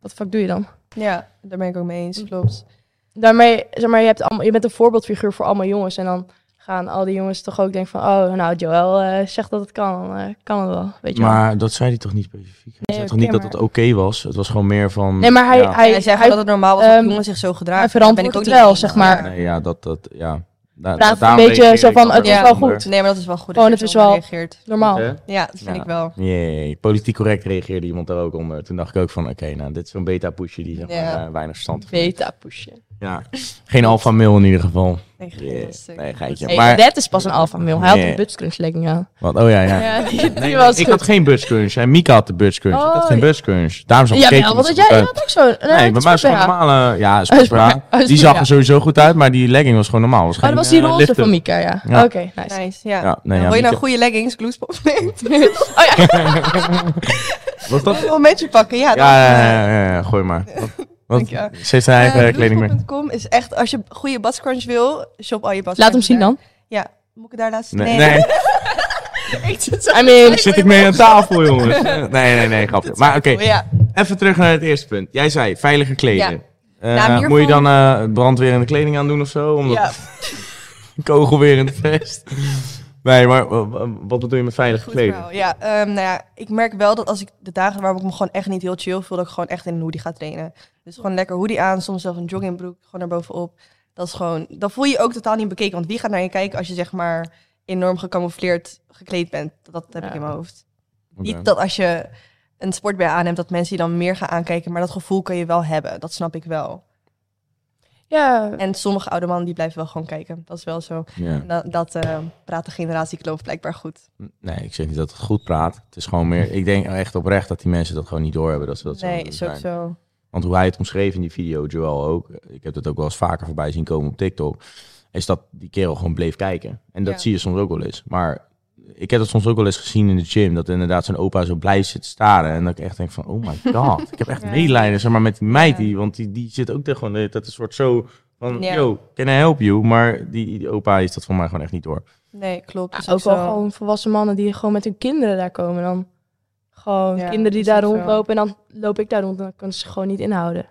Speaker 1: wat de fuck doe je dan?
Speaker 2: Ja, daar ben ik ook mee
Speaker 1: Mm.
Speaker 2: eens, klopt.
Speaker 1: daarmee, zeg maar, je, hebt allemaal, je bent een voorbeeldfiguur voor allemaal jongens. En dan gaan al die jongens toch ook denken van... Oh, nou, Joël eh, zegt dat het kan. dan, eh, kan het wel, weet je wel.
Speaker 3: Maar dat zei hij toch niet specifiek? Hij
Speaker 1: Nee,
Speaker 3: zei toch
Speaker 1: oké,
Speaker 3: niet dat
Speaker 1: maar-
Speaker 3: het oké was? Het was gewoon meer van...
Speaker 1: Nee, maar hij,
Speaker 3: Ja,
Speaker 1: hij,
Speaker 2: hij zei
Speaker 1: hij
Speaker 2: gewoon dat het normaal was dat
Speaker 1: ehm,
Speaker 2: jongens zich zo gedragen.
Speaker 1: hij
Speaker 2: Daar
Speaker 1: verantwoordt het wel,
Speaker 2: mee
Speaker 1: zeg
Speaker 2: eens.
Speaker 1: maar.
Speaker 3: nee, ja, dat... dat ja. Da-
Speaker 1: Praat een
Speaker 3: daarom
Speaker 1: beetje
Speaker 3: reageer
Speaker 1: zo
Speaker 3: ik
Speaker 1: van,
Speaker 3: dan
Speaker 1: het
Speaker 3: weer
Speaker 2: is
Speaker 1: wel
Speaker 3: onder.
Speaker 1: goed. Oh.
Speaker 2: Nee, maar dat is wel goed.
Speaker 1: Gewoon,
Speaker 2: dat je
Speaker 1: het
Speaker 2: zo
Speaker 1: is wel-
Speaker 2: reageert.
Speaker 1: normaal.
Speaker 3: Hè?
Speaker 2: Ja, dat vind
Speaker 3: Ja.
Speaker 2: ik wel.
Speaker 3: Jee, politiek correct reageerde iemand daar ook onder. Toen dacht ik ook van, oké, nou, dit is zo'n beta-poesje die zeg maar,
Speaker 2: Ja.
Speaker 3: eh, weinig stand heeft.
Speaker 1: Beta pushen.
Speaker 3: Ja. Geen alpha mail in ieder geval.
Speaker 2: Nee, geen
Speaker 3: Jee,
Speaker 2: stuk.
Speaker 3: Nee, geitje.
Speaker 1: Nee,
Speaker 3: Maar,
Speaker 1: dat is pas een alpha male. Hij had
Speaker 3: Nee.
Speaker 1: een buttscrunch legging aan.
Speaker 3: wat, oh ja, ja.
Speaker 1: Ja, die, die
Speaker 3: Nee,
Speaker 1: was
Speaker 3: ik
Speaker 1: goed.
Speaker 3: had geen butscrunch. En Mika had de butscrunch. ik had
Speaker 1: Oh,
Speaker 3: geen
Speaker 1: ja.
Speaker 3: butscrunch. Daarom zag ik
Speaker 1: Ja,
Speaker 3: keek
Speaker 1: wel,
Speaker 3: niet
Speaker 1: want
Speaker 3: zo
Speaker 1: jij
Speaker 3: goed uit.
Speaker 1: had ook zo'n...
Speaker 3: Nee, bij mij is gewoon normale... Ja, is goed,
Speaker 1: Sportbra.
Speaker 3: bra. Die zag er sowieso goed uit, maar die legging was gewoon normaal. Was
Speaker 1: Oh, dat
Speaker 3: geen,
Speaker 1: was die
Speaker 3: eh,
Speaker 1: roze
Speaker 3: lift-up.
Speaker 1: van Mika, ja.
Speaker 3: Ja.
Speaker 1: Oké, nice.
Speaker 2: Nice, ja.
Speaker 3: Ja, nee, ja,
Speaker 2: Wil je nou
Speaker 3: Mika-
Speaker 2: goede leggings, gloespop? Nee,
Speaker 1: Oh ja,
Speaker 3: Was dat?
Speaker 2: wel een beetje pakken, ja. eh,
Speaker 3: Ja, ja, ja, ja, ja, gooi maar. Wat, wat,
Speaker 2: je wel.
Speaker 3: ze heeft haar eigen eh, kleding meer.
Speaker 2: Gloespop.com is echt, als je goede badscrunch wil, shop al je badscrunch.
Speaker 1: laat hem zien
Speaker 2: daar.
Speaker 1: dan.
Speaker 2: Ja, moet ik het daar laten zien?
Speaker 3: Nee, nee,
Speaker 1: I mean,
Speaker 3: zit ik mee aan tafel, jongens. Nee, nee, nee, grapje. Maar oké,
Speaker 2: Oh, Ja,
Speaker 3: even terug naar het eerste punt. Jij zei veilige kleding.
Speaker 2: Ja.
Speaker 3: Eh,
Speaker 2: Nou, hiervoor-
Speaker 3: moet je dan eh brandwerende kleding aandoen of zo? Omdat
Speaker 2: ja.
Speaker 3: kogelwerend vest. Nee, maar wa- wa- wat bedoel je met veilige
Speaker 2: Goed
Speaker 3: kleding?
Speaker 2: verhaal. Ja, ehm, nou ja, ik merk wel dat als ik de dagen waarop ik me gewoon echt niet heel chill voel, dat ik gewoon echt in een hoodie ga trainen. Dus gewoon lekker hoodie aan, soms zelfs een joggingbroek gewoon erbovenop. Dat is gewoon, dan voel je je ook totaal niet bekeken. Want wie gaat naar je kijken als je zeg maar enorm gecamoufleerd gekleed bent? Dat, dat heb ik
Speaker 1: Ja.
Speaker 2: in mijn hoofd.
Speaker 3: Oké.
Speaker 2: Niet dat als je een sportbij aanneemt, dat mensen je dan meer gaan aankijken. Maar dat gevoel kan je wel hebben, dat snap ik wel.
Speaker 1: ja,
Speaker 2: En sommige oude mannen die blijven wel gewoon kijken, dat is wel zo.
Speaker 3: Ja.
Speaker 2: En Dat, dat eh, praat de generatie kloof blijkbaar goed.
Speaker 3: Nee, ik zeg niet dat het goed praat. Het is gewoon meer... Ik denk echt oprecht dat die mensen dat gewoon niet doorhebben. Dat ze dat zo aan
Speaker 2: nee,
Speaker 3: het
Speaker 2: is
Speaker 3: doen
Speaker 2: ook
Speaker 3: zijn.
Speaker 2: zo.
Speaker 3: Want hoe hij het omschreef in die video, Joel ook, ik heb het ook wel eens vaker voorbij zien komen op TikTok, is dat die kerel gewoon bleef kijken. En dat
Speaker 2: Ja.
Speaker 3: zie je soms ook wel eens. Maar ik heb dat soms ook wel eens gezien in de gym, dat inderdaad zijn opa zo blij zit te staren. En dat ik echt denk van, oh my god, ik heb echt
Speaker 2: Ja.
Speaker 3: medelijden zeg maar, met die meid,
Speaker 2: Ja.
Speaker 3: die, want die, die zit ook tegen gewoon, eh, dat is soort zo van,
Speaker 2: Ja.
Speaker 3: yo, can I help you? Maar die, die opa is dat voor mij gewoon echt niet door.
Speaker 2: Nee, klopt. is
Speaker 1: Ja, Dus ook wel
Speaker 2: zo.
Speaker 1: gewoon volwassen mannen die gewoon met hun kinderen daar komen. Dan gewoon
Speaker 2: Ja,
Speaker 1: kinderen die
Speaker 2: is ook
Speaker 1: daar
Speaker 2: zo.
Speaker 1: rondlopen en dan loop ik daar rond en dan kunnen ze gewoon niet inhouden.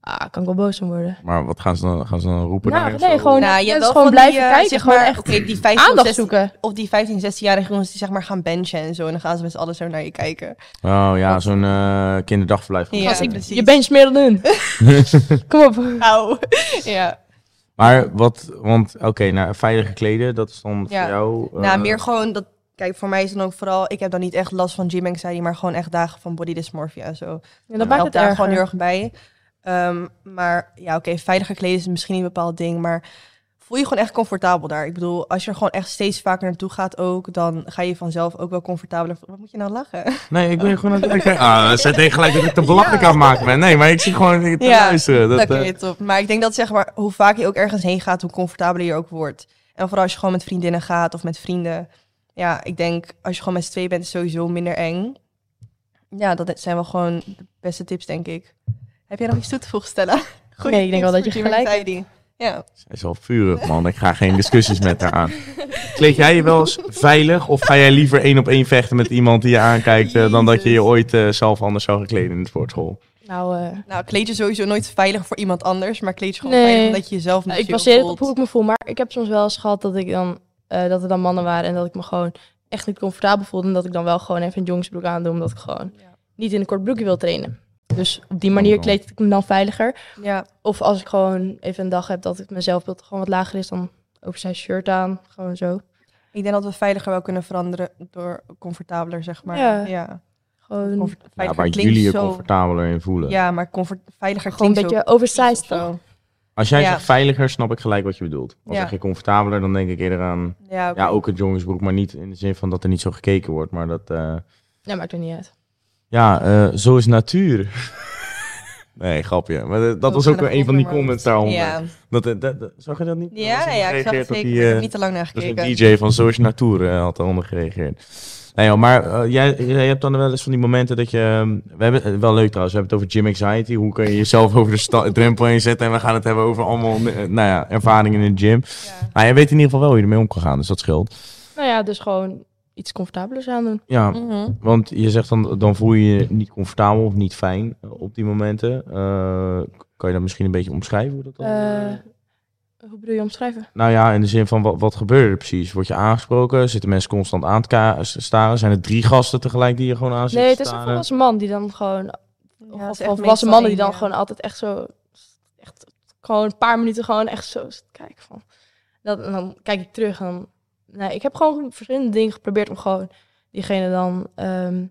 Speaker 1: Ah, kan ik wel boos om worden.
Speaker 3: Maar wat gaan ze dan, gaan ze dan roepen?
Speaker 1: Nou,
Speaker 3: naar je
Speaker 1: nee,
Speaker 3: of zo?
Speaker 1: gewoon-
Speaker 2: Nou, je
Speaker 1: Mensen
Speaker 2: hebt wel
Speaker 1: gewoon
Speaker 2: van
Speaker 1: blijven
Speaker 2: die, eh,
Speaker 1: kijken,
Speaker 2: zeg
Speaker 1: gewoon
Speaker 2: maar,
Speaker 1: echt
Speaker 2: oké, die 15,
Speaker 1: Aandacht
Speaker 2: 16
Speaker 1: zoeken.
Speaker 2: Of die 15, 16-jarige jongens die zeg maar gaan benchen en zo. En dan gaan ze met z'n allen zo naar je kijken.
Speaker 3: Oh ja,
Speaker 2: Wat-
Speaker 3: zo'n eh, kinderdagverblijf.
Speaker 2: Ja,
Speaker 1: Gast, ik-
Speaker 2: precies.
Speaker 1: je bent meer dan hun. Kom op.
Speaker 2: Auw. ja.
Speaker 3: Maar wat, want oké, nou, veilige kleden, dat is dan
Speaker 2: Ja.
Speaker 3: voor jou. eh,
Speaker 2: nou, meer gewoon dat... Kijk, voor mij is dan ook vooral... Ik heb dan niet echt last van gym anxiety, maar gewoon echt dagen van body dysmorphia en zo.
Speaker 1: Ja, dat maakt
Speaker 2: helpt
Speaker 1: het
Speaker 2: Nou, daar
Speaker 1: erger.
Speaker 2: gewoon heel erg bij. Ehm, Ehm, maar ja, oké, veiliger kleden is misschien niet een bepaald ding, maar voel je gewoon echt comfortabel daar. Ik bedoel, als je er gewoon echt steeds vaker naartoe gaat ook, dan ga je vanzelf ook wel comfortabeler. Wat moet je nou lachen?
Speaker 3: Nee, ik ben gewoon aan het... ik denk, Ah, ze denken gelijk dat ik te belachelijk aan het maken ben. Nee, maar ik zit gewoon te
Speaker 2: Ja,
Speaker 3: luisteren. Dat,
Speaker 2: Oké,
Speaker 3: eh,
Speaker 2: top. Maar ik denk dat zeg maar, hoe vaak je ook ergens heen gaat, hoe comfortabeler je ook wordt. En vooral als je gewoon met vriendinnen gaat of met vrienden. Ja, ik denk als je gewoon met z'n tweeën bent, is het sowieso minder eng. Ja, dat zijn wel gewoon de beste tips, denk ik. Heb jij nog iets toe te voegen, Stella? Goeie
Speaker 1: Nee, ik denk wel
Speaker 2: tips
Speaker 1: dat je
Speaker 2: voor
Speaker 1: gelijk
Speaker 2: team anxiety. Ja.
Speaker 3: Zij is wel vurig, man. Ik ga geen discussies met haar aan. Kleed jij je wel eens veilig? Of ga jij liever één op één vechten met iemand die je aankijkt... eh, dan dat je je
Speaker 2: Jezus.
Speaker 3: ooit eh, zelf anders zou gekleden in de sportschool?
Speaker 1: Nou, eh,
Speaker 2: Nou, kleed je sowieso nooit veilig voor iemand anders, maar kleed je gewoon
Speaker 1: Nee. Nou,
Speaker 2: veilig omdat je jezelf niet
Speaker 1: ik
Speaker 2: chill
Speaker 1: baseer het op
Speaker 2: voelt.
Speaker 1: hoe ik me voel. Maar ik heb soms wel eens gehad dat, ik dan, eh, dat er dan mannen waren en dat ik me gewoon echt niet comfortabel voelde. En dat ik dan wel gewoon even een jongensbroek aandoe, omdat ik gewoon
Speaker 2: Ja.
Speaker 1: niet in een kort broekje wil trainen. Dus op die manier
Speaker 3: Oh.
Speaker 1: kleed ik me dan veiliger.
Speaker 2: Ja,
Speaker 1: Of als ik gewoon even een dag heb dat ik mezelf dat gewoon wat lager is, dan oversized shirt aan. Gewoon zo.
Speaker 2: ik denk dat we veiliger wel kunnen veranderen door comfortabeler, zeg maar.
Speaker 1: Ja.
Speaker 2: ja.
Speaker 1: Gewoon,
Speaker 2: Comfort-
Speaker 3: Ja,
Speaker 2: veiliger
Speaker 3: waar
Speaker 2: klinkt
Speaker 3: jullie je
Speaker 2: zo-
Speaker 3: comfortabeler in voelen.
Speaker 2: Ja, maar comfort, veiliger
Speaker 1: gewoon een
Speaker 2: klinkt
Speaker 1: beetje oversized
Speaker 2: zo.
Speaker 1: toch?
Speaker 3: Als jij
Speaker 2: Ja.
Speaker 3: zegt veiliger, snap ik gelijk wat je bedoelt. Als
Speaker 2: Ja.
Speaker 3: zeg je comfortabeler, dan denk ik eerder aan...
Speaker 2: Ja, oké.
Speaker 3: Ja, ook een jongensbroek, maar niet in de zin van dat er niet zo gekeken wordt. Maar dat... eh,
Speaker 1: Nee, maakt er niet uit.
Speaker 3: Ja, eh, zo is natuur. nee, grapje. Maar eh, dat, dat
Speaker 2: Ook
Speaker 3: was ook
Speaker 2: van de
Speaker 3: een van die
Speaker 2: Voldemort.
Speaker 3: comments daaronder.
Speaker 2: ja.
Speaker 3: Dat, eh, dat, dat- zag je dat niet? Dat
Speaker 2: Ja,
Speaker 3: was
Speaker 2: ja, ik zag
Speaker 3: gereageerd op
Speaker 2: het zeker.
Speaker 3: die,
Speaker 2: ik heb
Speaker 3: eh,
Speaker 2: er niet te lang naar
Speaker 3: dat
Speaker 2: gekeken.
Speaker 3: is een DJ van Zo is Natuur eh, had daaronder gereageerd. Nee, joh, maar eh, jij, jij hebt dan wel eens van die momenten dat je... ehm, We hebben het wel leuk trouwens, we hebben het over gym anxiety. Hoe kun je jezelf over de sta- drempel heen zetten? En we gaan het hebben over allemaal eh, nou ja, ervaringen in de gym.
Speaker 2: Ja.
Speaker 3: Maar jij weet in ieder geval wel hoe je ermee om kan gaan, dus dat scheelt.
Speaker 1: Nou ja, dus gewoon iets comfortabelers aan doen.
Speaker 3: Ja,
Speaker 2: Mhm.
Speaker 3: Want je zegt dan, dan voel je je niet comfortabel of niet fijn eh, op die momenten. Eh, kan je dat misschien een beetje omschrijven? Hoe dat dan, eh?
Speaker 1: Hoe bedoel je omschrijven?
Speaker 3: Nou ja, in de zin van wat, wat gebeurde er precies? Word je aangesproken? Zitten mensen constant aan het ka- staren? Zijn er drie gasten tegelijk die je gewoon aan zitten
Speaker 1: Nee, het is een
Speaker 3: staren?
Speaker 1: volwassen man die dan gewoon
Speaker 2: Ja,
Speaker 1: of
Speaker 2: dat is echt
Speaker 1: of volwassen
Speaker 2: meestal
Speaker 1: mannen die
Speaker 2: één,
Speaker 1: dan
Speaker 2: ja.
Speaker 1: gewoon altijd echt zo... Echt, gewoon een paar minuten gewoon echt zo zitten kijken van... Dat, en dan kijk ik terug en dan... Nee, ik heb gewoon verschillende dingen geprobeerd om gewoon diegene dan ehm,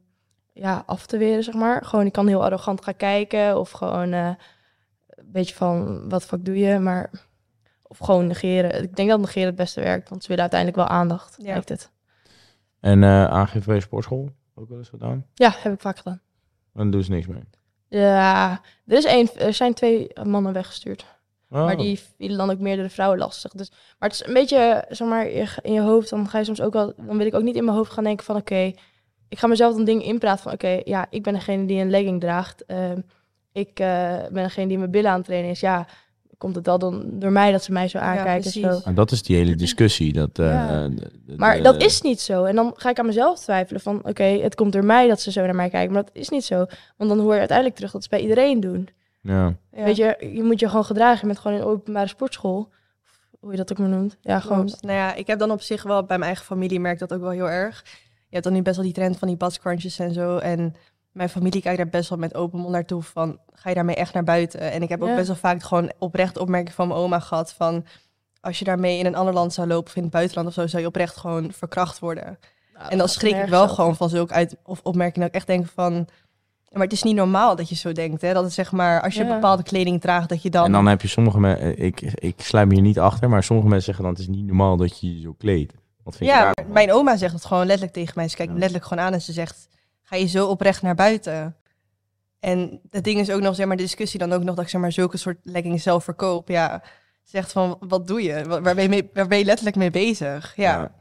Speaker 1: ja, af te weren, zeg maar. Gewoon, ik kan heel arrogant gaan kijken of gewoon eh, een beetje van, wat fuck doe je? Maar, of gewoon negeren. Ik denk dat negeren het beste werkt, want ze willen uiteindelijk wel aandacht,
Speaker 2: Ja.
Speaker 1: lijkt het.
Speaker 3: En eh aangifte bij je sportschool? Ook wel eens gedaan?
Speaker 1: Ja, heb ik vaak gedaan.
Speaker 3: En dan doen ze niks mee.
Speaker 1: Ja, er, is één, er zijn twee mannen weggestuurd.
Speaker 3: Oh.
Speaker 1: Maar die vielen dan ook meerdere vrouwen lastig. Dus, maar het is een beetje, eh, zeg maar, je g- in je hoofd. Dan ga je soms ook wel. Dan wil ik ook niet in mijn hoofd gaan denken van oké, ik ga mezelf dan dingen inpraten van oké, ja, ik ben degene die een legging draagt. Ehm, ik eh, ben degene die mijn billen aan het trainen is. Ja, komt het wel dan door mij dat ze mij zo aankijken.
Speaker 2: precies.
Speaker 1: zo.
Speaker 3: En Ah, dat is die hele discussie. Dat, eh,
Speaker 1: Ja.
Speaker 3: de- de-
Speaker 1: Maar
Speaker 3: de-
Speaker 1: dat is niet zo. En dan ga ik aan mezelf twijfelen van oké, het komt door mij dat ze zo naar mij kijken. Maar dat is niet zo. Want dan hoor je uiteindelijk terug dat ze bij iedereen doen.
Speaker 3: Ja.
Speaker 2: Ja.
Speaker 1: Weet je, je moet je gewoon gedragen. Je bent gewoon in een openbare sportschool. Hoe je dat ook maar noemt. Ja, gewoon.
Speaker 2: Klopt. Nou ja, ik heb dan op zich wel bij mijn eigen familie merk ik dat ook wel heel erg. Je hebt dan nu best wel die trend van die badscrunches en zo. En mijn familie kijkt daar best wel met open mond naartoe van, ga je daarmee echt naar buiten? En ik heb ook
Speaker 1: Ja.
Speaker 2: best wel vaak gewoon oprecht opmerking van mijn oma gehad van, als je daarmee in een ander land zou lopen of in het buitenland of zo, zou je oprecht gewoon verkracht worden. En dan schrik ik wel gewoon van zulke uit of opmerkingen dat ik echt denk van. Maar het is niet normaal dat je zo denkt. Hè? Dat het zeg maar, als je
Speaker 1: Ja.
Speaker 2: bepaalde kleding draagt, dat je dan.
Speaker 3: En dan heb je sommige mensen, ik, ik sluit me hier niet achter, maar sommige mensen zeggen dan het is niet normaal dat je je zo kleedt. Wat vind je
Speaker 2: ja,
Speaker 3: daar?
Speaker 2: maar mijn oma zegt het gewoon letterlijk tegen mij. Ze kijkt me
Speaker 3: Ja.
Speaker 2: letterlijk gewoon aan en ze zegt: ga je zo oprecht naar buiten? En het ding is ook nog, zeg maar, de discussie dan ook nog dat ik zeg maar zulke soort leggings zelf verkoop. Ja, zegt van wat doe je? Wa- Waar ben je, mee- waar ben je letterlijk mee bezig? Ja,
Speaker 3: Ja.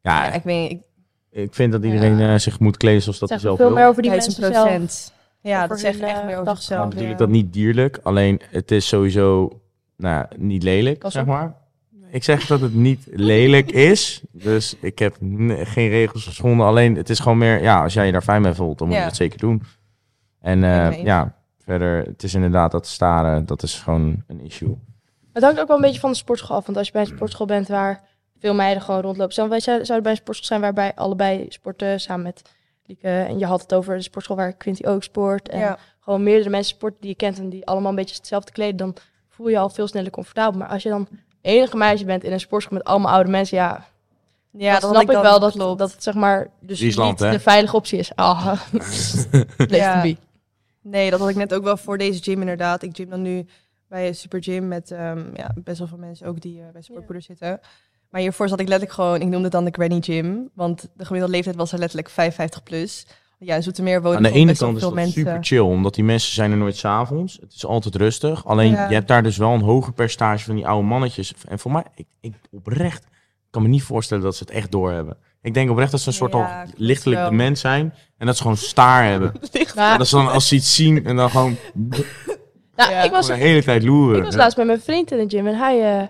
Speaker 2: ja,
Speaker 3: Ja,
Speaker 2: ik weet niet.
Speaker 3: ik vind dat iedereen eh, zich moet kleden zoals dat hij
Speaker 1: Zeg
Speaker 3: zelf
Speaker 1: veel
Speaker 3: wil.
Speaker 1: meer over die mensen
Speaker 2: Duizend
Speaker 1: zelf.
Speaker 2: procent. Ja,
Speaker 1: Over
Speaker 2: dat zegt
Speaker 1: hun,
Speaker 2: echt
Speaker 1: eh,
Speaker 2: meer over
Speaker 1: dag-
Speaker 3: Ik
Speaker 2: zichzelf.
Speaker 3: bedoel natuurlijk
Speaker 2: ja.
Speaker 3: dat niet dierlijk, alleen het is sowieso nou, ja, niet lelijk,
Speaker 1: Pas
Speaker 3: zeg
Speaker 1: op.
Speaker 3: maar. Ik zeg dat het niet lelijk is, dus ik heb n- geen regels geschonden. Alleen het is gewoon meer, ja, als jij je daar fijn mee voelt, dan moet
Speaker 2: Ja.
Speaker 3: je dat zeker doen. En eh,
Speaker 2: Helemaal eens.
Speaker 3: ja, verder, het is inderdaad dat staren, dat is gewoon een issue.
Speaker 1: Het hangt ook wel een beetje van de sportschool af. Want als je bij een sportschool bent waar veel meiden gewoon rondlopen. Stel, wij zou- zouden bij een sportschool zijn waarbij allebei sporten samen met Lieke. En je had het over de sportschool waar Quinty ook sport. En
Speaker 2: Ja.
Speaker 1: gewoon meerdere mensen sporten die je kent en die allemaal een beetje hetzelfde kleden. Dan voel je je al veel sneller comfortabel. Maar als je dan enige meisje bent in een sportschool met allemaal oude mensen, ja,
Speaker 2: Ja,
Speaker 1: dat
Speaker 2: dan
Speaker 1: snap ik
Speaker 2: dan-
Speaker 1: wel dat,
Speaker 2: klopt.
Speaker 1: dat het zeg maar dus
Speaker 3: Friesland,
Speaker 1: niet
Speaker 3: hè?
Speaker 1: de veilige optie is. Ah, leeft
Speaker 2: Ja.
Speaker 1: een bie.
Speaker 2: Nee, dat had ik net ook wel voor deze gym inderdaad. Ik gym dan nu bij een super gym met ehm, ja, best wel veel mensen ook die eh, bij sportpoeders zitten. Maar hiervoor zat ik letterlijk gewoon, ik noemde het dan de granny gym. Want de gemiddelde leeftijd was er letterlijk 55 plus. Ja, in Zoetermeer wonen
Speaker 3: Aan de
Speaker 2: gewoon
Speaker 3: ene
Speaker 2: best wel
Speaker 3: kant is
Speaker 2: veel
Speaker 3: dat
Speaker 2: mensen.
Speaker 3: super chill, omdat die mensen zijn er nooit s'avonds. Het is altijd rustig. Alleen
Speaker 2: Ja.
Speaker 3: je hebt daar dus wel een hoger percentage van die oude mannetjes. En voor mij, ik, ik oprecht kan me niet voorstellen dat ze het echt doorhebben. Ik denk oprecht dat ze een soort
Speaker 2: Ja,
Speaker 3: al
Speaker 2: klopt
Speaker 3: lichtelijk
Speaker 2: wel.
Speaker 3: dement zijn en dat ze gewoon staar hebben. En
Speaker 1: Nou,
Speaker 3: dat ze dan als ze iets zien en dan gewoon
Speaker 1: nou,
Speaker 2: Ja.
Speaker 1: ik, was,
Speaker 3: de hele tijd loeren.
Speaker 1: ik was laatst met mijn vriend in de gym en hij eh,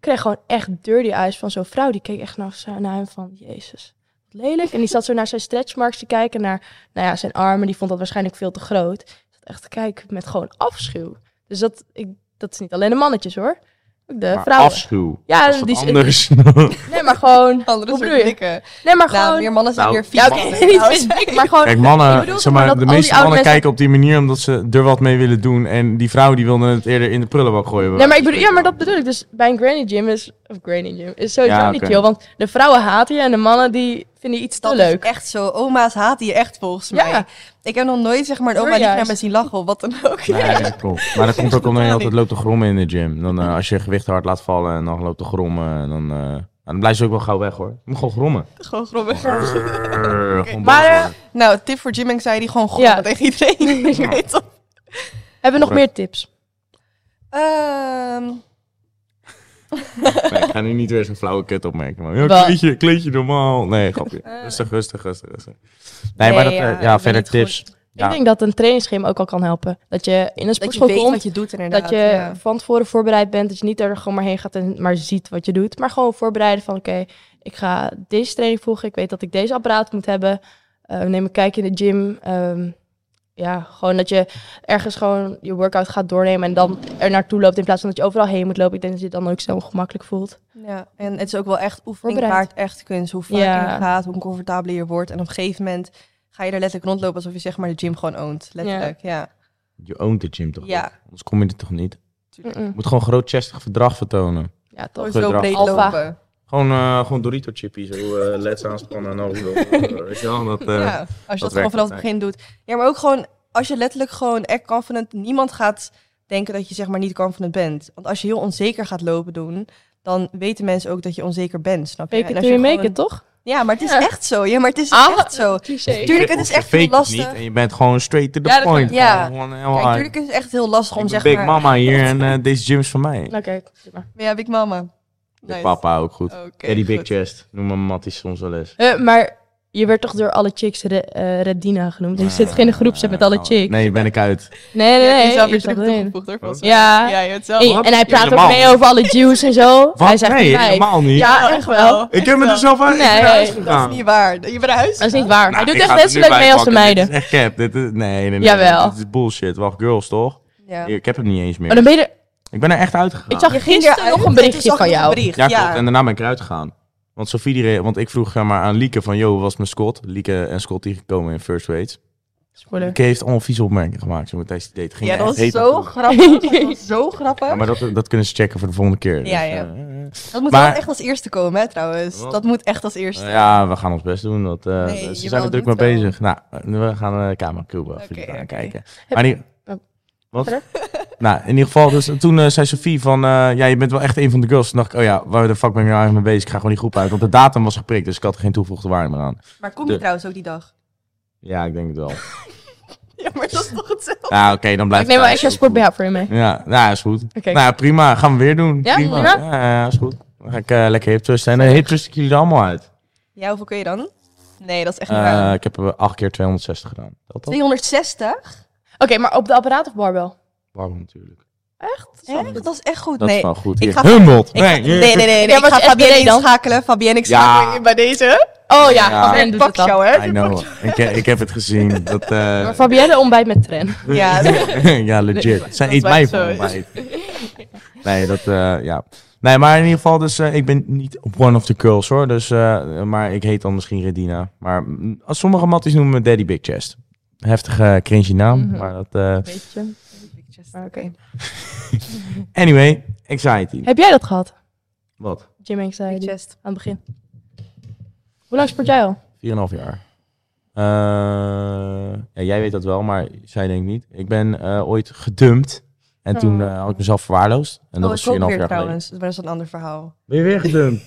Speaker 1: kreeg gewoon echt dirty eyes van zo'n vrouw. Die keek echt naar, zo- naar hem van, jezus, wat lelijk. En die zat zo naar zijn stretchmarks te kijken, naar nou ja, zijn armen. Die vond dat waarschijnlijk veel te groot. Ik zat echt te kijken met gewoon afschuw. Dus dat, ik, dat is niet alleen de mannetjes hoor. Ook de
Speaker 3: Maar
Speaker 1: vrouwen.
Speaker 3: Afschuw.
Speaker 1: Ja,
Speaker 3: Dat is wat
Speaker 1: die is-
Speaker 3: anders.
Speaker 1: Nee, maar gewoon...
Speaker 2: Andere
Speaker 1: Hoe
Speaker 2: soort
Speaker 1: bedoel je?
Speaker 2: blikken.
Speaker 1: Nee, maar
Speaker 2: Nou,
Speaker 1: gewoon...
Speaker 2: meer mannen zijn
Speaker 3: Nou,
Speaker 2: weer
Speaker 1: Ja,
Speaker 2: vies.
Speaker 1: oké, niet specifiek, maar gewoon...
Speaker 3: Kijk,
Speaker 1: Ik
Speaker 3: mannen,
Speaker 1: bedoel
Speaker 3: zeg
Speaker 1: toch maar
Speaker 3: maar,
Speaker 1: dat
Speaker 3: de
Speaker 1: al die
Speaker 3: meeste mannen
Speaker 1: oude mensen-
Speaker 3: kijken op die manier omdat ze er wat mee willen doen. En die vrouwen die wilden het eerder in de prullenbak gooien. bij
Speaker 1: Nee, maar ik
Speaker 3: wijze
Speaker 1: bedoel,
Speaker 3: van
Speaker 1: ja, maar dat
Speaker 3: spreken.
Speaker 1: bedoel ik. Dus bij een granny gym is, of granny gym, is sowieso
Speaker 3: Ja,
Speaker 1: niet
Speaker 3: oké.
Speaker 1: chill. Want de vrouwen haten je en de mannen die vinden je iets
Speaker 2: Dat
Speaker 1: te
Speaker 2: is
Speaker 1: leuk.
Speaker 2: echt zo. Oma's haten je echt volgens
Speaker 1: Ja.
Speaker 2: mij. Ik heb nog nooit zeg maar een
Speaker 1: Hoor
Speaker 2: oma die
Speaker 1: juist.
Speaker 2: naar me zien lachen of wat dan ook.
Speaker 3: Nee, dat klopt. Maar dat komt ook omdat je
Speaker 2: Totaal
Speaker 3: altijd
Speaker 2: niet.
Speaker 3: loopt te grommen in de gym. Dan, eh, als je gewicht hard laat vallen en dan loopt te grommen, en dan, eh, nou, dan blijft ze ook wel gauw weg hoor. Je moet gewoon grommen.
Speaker 2: Gewoon grommen.
Speaker 3: Brrr, gewoon
Speaker 1: Maar,
Speaker 3: boos
Speaker 1: eh,
Speaker 3: worden.
Speaker 2: Nou, tip voor gym anxiety, gewoon grommen
Speaker 1: Ja.
Speaker 2: tegen iedereen. Ik weet het.
Speaker 1: Hebben we nog
Speaker 3: Right.
Speaker 1: meer tips?
Speaker 2: Ehm,
Speaker 3: Nee, ik ga nu niet weer zo'n flauwe kut opmerken. Maar, ja,
Speaker 1: Wat?
Speaker 3: kleedje, kleedje normaal. Nee, grapje. Rustig, rustig, rustig, rustig. Eh. Nee, maar dat, eh,
Speaker 2: ja,
Speaker 3: ja,
Speaker 2: ik ben
Speaker 3: verder
Speaker 2: niet goed.
Speaker 3: tips. Ja.
Speaker 1: Ik denk dat een trainingsschema ook al kan helpen. Dat je in een
Speaker 2: dat je
Speaker 1: sportschool
Speaker 2: weet
Speaker 1: komt,
Speaker 2: wat je doet inderdaad.
Speaker 1: dat je
Speaker 2: ja.
Speaker 1: van tevoren voorbereid bent. Dat je niet er gewoon maar heen gaat en maar ziet wat je doet. Maar gewoon voorbereiden van, oké, ik ga deze training volgen. Ik weet dat ik deze apparaat moet hebben. Eh, neem een kijkje in de gym. Ehm, ja, gewoon dat je ergens gewoon je workout gaat doornemen en dan er naartoe loopt in plaats van dat je overal heen moet lopen. Ik denk dat je het dan ook zo ongemakkelijk voelt.
Speaker 2: Ja, en het is ook wel echt oefening
Speaker 1: Voorbereid.
Speaker 2: waard echt kunst. Hoe vaak
Speaker 1: Ja.
Speaker 2: je er gaat, hoe comfortabeler je wordt. En op een gegeven moment ga je er letterlijk rondlopen alsof je zeg maar de gym gewoon oont. Letterlijk, ja.
Speaker 3: Je oont de gym toch?
Speaker 2: Ja.
Speaker 3: ook? Anders kom je er toch niet?
Speaker 1: Mm-mm.
Speaker 3: Je moet gewoon grootchestig verdrag vertonen.
Speaker 1: Ja, toch.
Speaker 2: Nooit
Speaker 3: Goed
Speaker 2: zo
Speaker 3: gedrag.
Speaker 2: breed
Speaker 1: Alpha.
Speaker 2: lopen.
Speaker 3: Gewoon, eh gewoon Dorito chippy, zo eh leds aanspannen en al. zo, eh, Weet je wel, dat... eh,
Speaker 2: ja, als je dat,
Speaker 3: werkt
Speaker 2: gewoon vanaf
Speaker 3: altijd.
Speaker 2: het begin doet. Ja, maar ook gewoon als je letterlijk gewoon echt confident, niemand gaat denken dat je zeg maar niet confident bent. Want als je heel onzeker gaat lopen doen, dan weten mensen ook dat je onzeker bent, snap je?
Speaker 1: Fake
Speaker 2: En
Speaker 1: it
Speaker 2: als
Speaker 1: till
Speaker 2: je
Speaker 1: you make
Speaker 2: gewoon-
Speaker 1: it, toch?
Speaker 2: Ja, maar het is
Speaker 1: Ja.
Speaker 2: echt zo. Ja, maar het is
Speaker 1: Ah.
Speaker 2: echt zo.
Speaker 1: Cliché.
Speaker 2: Tuurlijk, het
Speaker 3: of
Speaker 2: is
Speaker 3: je
Speaker 2: echt heel
Speaker 3: fake het
Speaker 2: lastig.
Speaker 3: niet en je bent gewoon straight to the
Speaker 1: Ja, dat
Speaker 3: point.
Speaker 2: klopt. Ja.
Speaker 3: Gewoon heel
Speaker 2: Kijk,
Speaker 3: hard.
Speaker 2: tuurlijk is het echt heel lastig om
Speaker 3: Ik ben
Speaker 2: zeg
Speaker 3: Big
Speaker 2: maar...
Speaker 3: Mama hier en eh, deze gym is van mij.
Speaker 1: Oké, prima.
Speaker 2: Ja, Big Mama.
Speaker 3: Big
Speaker 2: Nice.
Speaker 3: Papa ook goed.
Speaker 2: Oké,
Speaker 3: Eddie Big
Speaker 2: goed.
Speaker 3: Chest, noem me Mattie soms wel eens.
Speaker 1: Eh, maar je werd toch door alle chicks Re- eh, Redina genoemd. Dus je zit geen groepset met alle
Speaker 3: Eh,
Speaker 1: chicks. Nee,
Speaker 3: Nee, ben ik uit.
Speaker 1: nee,
Speaker 2: Je
Speaker 1: nee.
Speaker 2: hebt jezelf
Speaker 1: je
Speaker 2: weer
Speaker 1: zat
Speaker 2: terug
Speaker 1: erin.
Speaker 2: toegevoegd hoor, volgens mij.
Speaker 1: Ja.
Speaker 2: Ja, je hebt zelf.
Speaker 1: Hey,
Speaker 3: Wat?
Speaker 1: en hij praat ook
Speaker 3: Helemaal
Speaker 1: mee
Speaker 3: niet.
Speaker 1: over alle Jews en zo. Hij
Speaker 3: Wat?
Speaker 1: zegt
Speaker 3: Nee,
Speaker 1: een vijf.
Speaker 3: helemaal niet.
Speaker 1: Ja, echt wel.
Speaker 3: ik heb het er zelf uit.
Speaker 1: Nee,
Speaker 3: ik ben eruit
Speaker 1: dat
Speaker 2: Dat
Speaker 3: gegaan.
Speaker 2: is niet waar. Je bent naar huis.
Speaker 1: Dat is niet waar.
Speaker 3: Nou,
Speaker 1: hij doet
Speaker 3: ik
Speaker 1: echt
Speaker 3: ga het
Speaker 1: net zo
Speaker 3: er
Speaker 1: leuk
Speaker 3: nu bij
Speaker 1: mee als de
Speaker 3: pakken. Dit
Speaker 1: meiden.
Speaker 3: is echt cap. Dit is, nee, nee, nee.
Speaker 1: Jawel.
Speaker 3: Dit is bullshit. Wacht, girls toch?
Speaker 2: Ja.
Speaker 3: Ik heb hem niet eens meer.
Speaker 1: Maar dan ben je er...
Speaker 3: Ik ben er echt uitgegaan.
Speaker 1: Ik zag
Speaker 2: Je ging
Speaker 1: gisteren
Speaker 2: eruit
Speaker 1: nog een
Speaker 2: en toen
Speaker 1: berichtje
Speaker 2: zag
Speaker 1: van
Speaker 2: ik nog
Speaker 1: jou.
Speaker 2: een bericht,
Speaker 3: Ja,
Speaker 2: ja.
Speaker 3: klopt. En daarna ben ik eruit gegaan. Want Sophie, die re- want ik vroeg zeg maar, aan Lieke van, yo, hoe was het met Scott? Lieke en Scott die gekomen in First Weights.
Speaker 1: Spoiler.
Speaker 3: Lieke heeft allemaal vieze opmerkingen gemaakt zo, tijdens die date. Ging
Speaker 2: Ja,
Speaker 3: echt
Speaker 2: dat was
Speaker 3: heten
Speaker 2: zo
Speaker 3: toe.
Speaker 2: grappig. Dat was zo grappig.
Speaker 3: Ja, maar dat, dat kunnen ze checken voor de volgende keer. Dus,
Speaker 2: Ja, ja.
Speaker 3: eh, eh,
Speaker 2: Dat moet
Speaker 3: Maar-
Speaker 2: wel echt als eerste komen, hè, trouwens.
Speaker 3: Wat?
Speaker 2: Dat moet echt als eerste.
Speaker 3: eh, ja, we gaan ons best doen. Dat, eh,
Speaker 2: Nee,
Speaker 3: ze zijn
Speaker 2: jawel,
Speaker 3: er druk mee
Speaker 2: doe het wel.
Speaker 3: bezig. Nou, we gaan eh, de camera Cuba even
Speaker 2: Oké,
Speaker 3: gaan
Speaker 2: oké.
Speaker 3: kijken. Maar die,
Speaker 1: Oh.
Speaker 3: wat?
Speaker 1: Verder?
Speaker 3: nou, in ieder geval, dus, toen eh, zei Sophie van, eh, ja, je bent wel echt een van de girls. Toen dacht ik, oh ja, waar de fuck ben ik nou eigenlijk mee bezig? Ik ga gewoon die groep uit, want de datum was geprikt, dus ik had er geen toegevoegde waarde meer aan.
Speaker 2: Maar kom je
Speaker 3: De-
Speaker 2: trouwens ook die dag?
Speaker 3: Ja, ik denk het wel.
Speaker 2: Ja, maar dat is toch hetzelfde?
Speaker 3: Ja, oké, dan blijft
Speaker 1: Ik neem wel
Speaker 3: het
Speaker 1: extra
Speaker 3: thuis ook
Speaker 1: sport BH voor je mee.
Speaker 3: goed. Ja, nou, is goed.
Speaker 1: Oké.
Speaker 3: Nou, prima. Gaan we weer doen.
Speaker 1: Ja,
Speaker 3: prima.
Speaker 1: prima.
Speaker 3: Ja, ja, is goed. Dan ga ik eh, lekker hip trusten. En hip trust ik jullie er allemaal uit.
Speaker 2: Ja, hoeveel kun je dan? Nee, dat is echt niet
Speaker 3: Eh,
Speaker 2: waar.
Speaker 3: ik heb er 8 keer 260 gedaan. Dat dat?
Speaker 2: 260?
Speaker 1: Oké, maar op de apparaat of barbel?
Speaker 3: Waarom natuurlijk?
Speaker 1: Echt?
Speaker 2: Echt? Dat is echt goed.
Speaker 3: Dat
Speaker 2: nee.
Speaker 3: is wel goed.
Speaker 2: Ik
Speaker 3: Hier.
Speaker 2: ga-
Speaker 3: Humbelt.
Speaker 2: Ik ga- nee, nee, nee. nee.
Speaker 1: Ja,
Speaker 2: ik
Speaker 1: wat
Speaker 2: ga
Speaker 1: is
Speaker 2: Fabienne
Speaker 1: SBD dan?
Speaker 2: inschakelen. Fabienne, ik
Speaker 3: Ja.
Speaker 2: schakel je in bij deze.
Speaker 1: Oh ja,
Speaker 3: Ja.
Speaker 1: Fabienne doet het al.
Speaker 2: Pak jou, hè?
Speaker 3: I know. Ik, ik heb het gezien. Dat, eh,
Speaker 1: Maar Fabienne ontbijt met Tren.
Speaker 2: Ja,
Speaker 3: ja, legit. Zij
Speaker 2: dat
Speaker 3: eet
Speaker 2: was
Speaker 3: mij
Speaker 2: echt
Speaker 3: van
Speaker 2: zo.
Speaker 3: ontbijt. Nee, dat, eh, ja. Nee, maar in ieder geval, dus eh, ik ben niet one of the girls hoor. Dus, eh, maar ik heet dan misschien Redina. Maar mm, als sommige matties noemen me Daddy Big Chest. Heftige cringy naam,
Speaker 1: Mhm.
Speaker 3: maar dat... eh,
Speaker 1: Weet je.
Speaker 2: Oké.
Speaker 3: Anyway, anxiety.
Speaker 1: Heb jij dat gehad?
Speaker 3: Wat?
Speaker 1: Jim Anxiety.
Speaker 2: Chest.
Speaker 1: Aan het begin. Hoe lang sport jij al?
Speaker 3: 4,5 jaar. Eh, ja, jij weet dat wel, maar zij denkt niet. Ik ben eh, ooit gedumpt. En toen
Speaker 2: Oh.
Speaker 3: eh, had ik mezelf verwaarloosd. En dat
Speaker 2: oh,
Speaker 3: was
Speaker 2: ik ook
Speaker 3: 4,5
Speaker 2: weer
Speaker 3: jaar geleden.
Speaker 2: trouwens. Maar dat is een ander verhaal.
Speaker 3: Ben je weer gedumpt?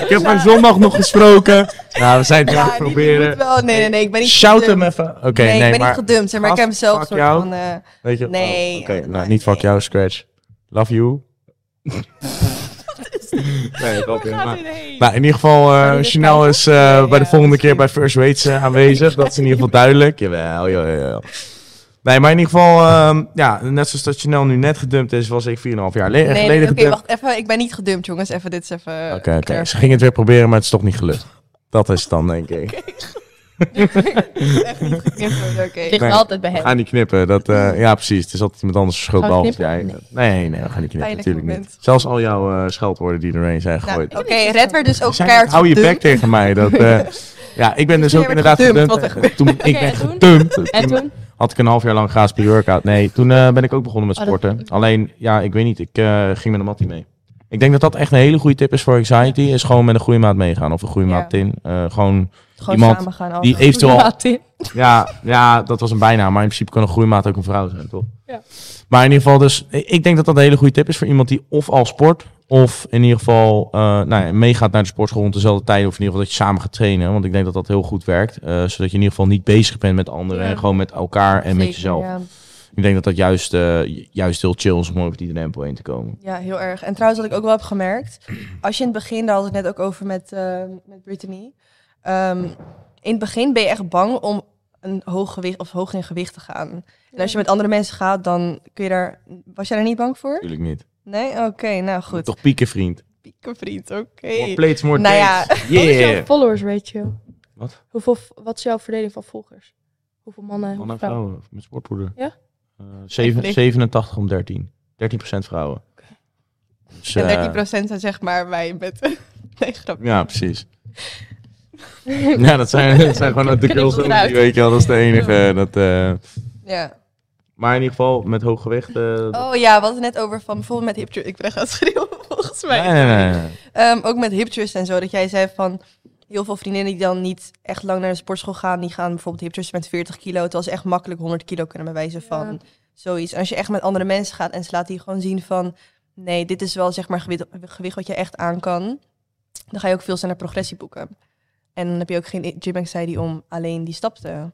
Speaker 3: ik heb haar zondag nog gesproken. Nou, we zijn het weer aan het
Speaker 2: die- die moet
Speaker 3: proberen.
Speaker 2: wel. Nee, nee, nee. Ik ben niet
Speaker 3: Shout hem
Speaker 2: gedumpt.
Speaker 3: even. Oké,
Speaker 2: nee,
Speaker 3: nee,
Speaker 2: ik ben
Speaker 3: maar
Speaker 2: niet gedumpt. Zeg maar ik
Speaker 3: gast,
Speaker 2: heb zelf
Speaker 3: fuck
Speaker 2: soort
Speaker 3: jou.
Speaker 2: van... eh,
Speaker 3: weet je,
Speaker 2: Nee,
Speaker 3: oh, Oké, nou,
Speaker 2: maar-
Speaker 3: niet fuck
Speaker 2: nee.
Speaker 3: jou, Scratch. Love you. nee, dat is maar- Nou, in ieder geval, eh,
Speaker 1: Zou die dit
Speaker 3: Chanel is eh, bij de
Speaker 2: ja,
Speaker 3: volgende keer bij First Rates eh, aanwezig. Dat is in ieder geval duidelijk. Jawel, jawel, jawel. Nee, maar in ieder geval, ehm, ja, net zoals dat Chanel nu net gedumpt is, was ik 4,5 jaar le-
Speaker 2: nee, nee,
Speaker 3: geleden
Speaker 2: Oké,
Speaker 3: gedumpt.
Speaker 2: wacht even. Ik ben niet gedumpt, jongens. Even dit is even...
Speaker 3: Oké, oké. Ze ging het weer proberen, maar het is toch niet gelukt. Dat is het dan, denk ik.
Speaker 2: Echt niet geknipt worden, oké.
Speaker 1: ligt
Speaker 3: Nee.
Speaker 1: altijd bij
Speaker 3: We
Speaker 1: hem.
Speaker 3: gaan niet knippen. Dat, eh, ja, precies. Het is altijd iemand anders schuld,
Speaker 1: Gaan we
Speaker 3: behalve jij. Nee.
Speaker 1: knippen?
Speaker 3: nee, we gaan niet knippen.
Speaker 2: Pijnlijk
Speaker 3: Natuurlijk niet.
Speaker 2: moment.
Speaker 3: Zelfs al jouw eh, scheldwoorden die erheen zijn
Speaker 2: Nou,
Speaker 3: gegooid.
Speaker 2: Oké, Red werd dus ook
Speaker 3: Zij-
Speaker 2: keihard
Speaker 3: hou je
Speaker 2: gedumpt.
Speaker 3: bek tegen mij. Dat, eh, ja, ik ben dus
Speaker 2: Jij
Speaker 3: ook
Speaker 2: werd
Speaker 3: inderdaad
Speaker 2: gedumpt,
Speaker 3: gedumpt.
Speaker 2: wat er gebeurt.
Speaker 3: Toen ik
Speaker 1: Oké,
Speaker 3: ben
Speaker 1: en toen?
Speaker 3: gedumpt.
Speaker 1: En
Speaker 3: toen
Speaker 1: toen?
Speaker 3: had ik een half jaar lang gratis pre-workout. Nee, toen eh, ben ik ook begonnen met
Speaker 1: Oh, dat-
Speaker 3: sporten. Alleen, ja, ik weet niet. Ik eh, ging met een mattie mee. Ik denk dat dat echt een hele goede tip is voor anxiety. Is gewoon met een goede maat meegaan. Of een goede
Speaker 2: Ja.
Speaker 3: maat in. Eh, gewoon
Speaker 2: Gewoon
Speaker 3: iemand
Speaker 2: samen gaan. af.
Speaker 3: die eventueel
Speaker 1: Ja, Tim.
Speaker 3: ja, ja, dat was een bijnaam. Maar in principe kan een groeimaat ook een vrouw zijn, toch?
Speaker 1: Ja.
Speaker 3: Maar in ieder geval dus... i- Ik denk dat dat een hele goede tip is voor iemand die of al sport... of in ieder geval eh, nou ja, meegaat naar de sportschool rond dezelfde tijd... of in ieder geval dat je samen gaat trainen. Want ik denk dat dat heel goed werkt. eh, zodat je in ieder geval niet bezig bent met anderen...
Speaker 1: Ja.
Speaker 3: en gewoon met elkaar en met
Speaker 1: Zeker,
Speaker 3: jezelf.
Speaker 2: Ja.
Speaker 3: Ik denk dat dat juist, eh, ju- juist heel chill is om over die drempel heen te komen.
Speaker 2: Ja, heel erg. En trouwens, wat ik ook wel heb gemerkt. Als je in het begin, daar had ik het net ook over met, eh, met Brittany. Ehm, in het begin ben je echt bang om een hoog gewicht of hoog in gewicht te gaan. En als je met andere mensen gaat, dan kun je daar. Was jij daar niet bang voor?
Speaker 3: Natuurlijk niet.
Speaker 2: Nee? Oké, nou goed.
Speaker 3: Toch pieken, vriend.
Speaker 2: Pieke vriend, oké.
Speaker 3: More plates, more
Speaker 2: Nou ja.
Speaker 3: dates.
Speaker 1: Wat is jouw
Speaker 3: Yeah!
Speaker 1: followers ratio?
Speaker 3: Wat?
Speaker 1: Hoeveel, wat is jouw verdeling van volgers? Hoeveel mannen,
Speaker 3: Mannen
Speaker 1: hoeveel
Speaker 3: en
Speaker 1: vrouwen?
Speaker 3: vrouwen met sportpoeder.
Speaker 1: Ja?
Speaker 3: Eh, zeven- 87 om 13. 13 vrouwen. Dus, eh,
Speaker 2: En 13% zijn zeg maar wij met. Nee, grapje.
Speaker 3: ja, precies. ja, dat zijn, dat zijn gewoon de girls
Speaker 1: het
Speaker 3: only,
Speaker 1: eruit.
Speaker 3: weet je wel. Dat is de enige. Dat, eh,
Speaker 2: Ja.
Speaker 3: maar in ieder geval, met hoog gewicht... eh,
Speaker 2: Oh ja, we hadden het net over van bijvoorbeeld met hipture. Ik ben echt aan het schreeuwen volgens mij.
Speaker 3: nee, nee, nee, nee.
Speaker 2: Ehm, ook met hiptrusts en zo, dat jij zei van heel veel vriendinnen die dan niet echt lang naar de sportschool gaan, die gaan bijvoorbeeld hiptrusten met 40 kilo, terwijl ze echt makkelijk 100 kilo kunnen bewijzen van
Speaker 1: Ja.
Speaker 2: zoiets. En als je echt met andere mensen gaat en ze laten die gewoon zien van nee, dit is wel zeg maar gewicht, gewicht wat je echt aan kan, dan ga je ook veel sneller progressie boeken. En dan heb je ook geen gym anxiety om alleen die stap te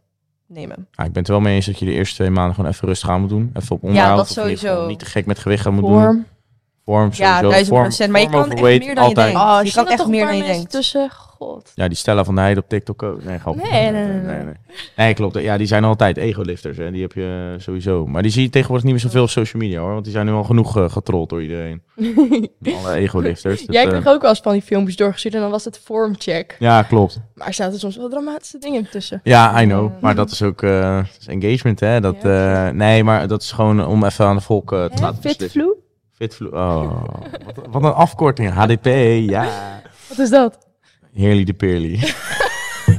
Speaker 2: nemen.
Speaker 3: Ah, ik ben het er wel mee eens dat je de eerste twee maanden gewoon even rustig aan moet doen. Even op onderhoud.
Speaker 2: dat
Speaker 3: of in ieder
Speaker 2: sowieso.
Speaker 3: geval Niet te gek met gewicht gaan moet doen.
Speaker 1: Vorm.
Speaker 3: Vorm,
Speaker 2: Ja,
Speaker 3: sowieso.
Speaker 2: 1000
Speaker 3: Vorm-
Speaker 2: Maar je
Speaker 3: vorm
Speaker 2: kan echt
Speaker 3: overweight,
Speaker 2: meer dan je
Speaker 3: altijd.
Speaker 2: denkt.
Speaker 1: Oh,
Speaker 2: je
Speaker 1: je kan
Speaker 2: kan echt
Speaker 1: meer
Speaker 2: meer
Speaker 1: een
Speaker 2: dan
Speaker 1: paar
Speaker 2: je
Speaker 1: mensen
Speaker 2: denkt.
Speaker 1: tussen. God.
Speaker 3: Ja, die Stella van de Heide op TikTok ook. Nee, grap.
Speaker 1: Nee, nee, nee, nee.
Speaker 3: Nee, klopt. Ja, die zijn altijd egolifters. Hè. Die heb je sowieso. Maar die zie je tegenwoordig niet meer zoveel op social media hoor. Want die zijn nu al genoeg eh, getrold door iedereen. Alle egolifters. Dat,
Speaker 1: Jij
Speaker 3: eh,
Speaker 1: kreeg ook wel eens van die filmpjes doorgestuurd en dan was het vormcheck.
Speaker 3: Ja, klopt.
Speaker 1: Maar er zaten soms wel dramatische dingen tussen.
Speaker 3: Ja, I know. Maar dat is ook eh, dat is engagement, hè? Dat,
Speaker 1: Ja.
Speaker 3: eh, nee, maar dat is gewoon om even aan de volk eh, te laten beslissen.
Speaker 1: Fitvloe?
Speaker 3: Fitvloed. Oh, wat, wat een afkorting. HDP, ja.
Speaker 1: Wat is dat?
Speaker 3: Heerly de Peerly.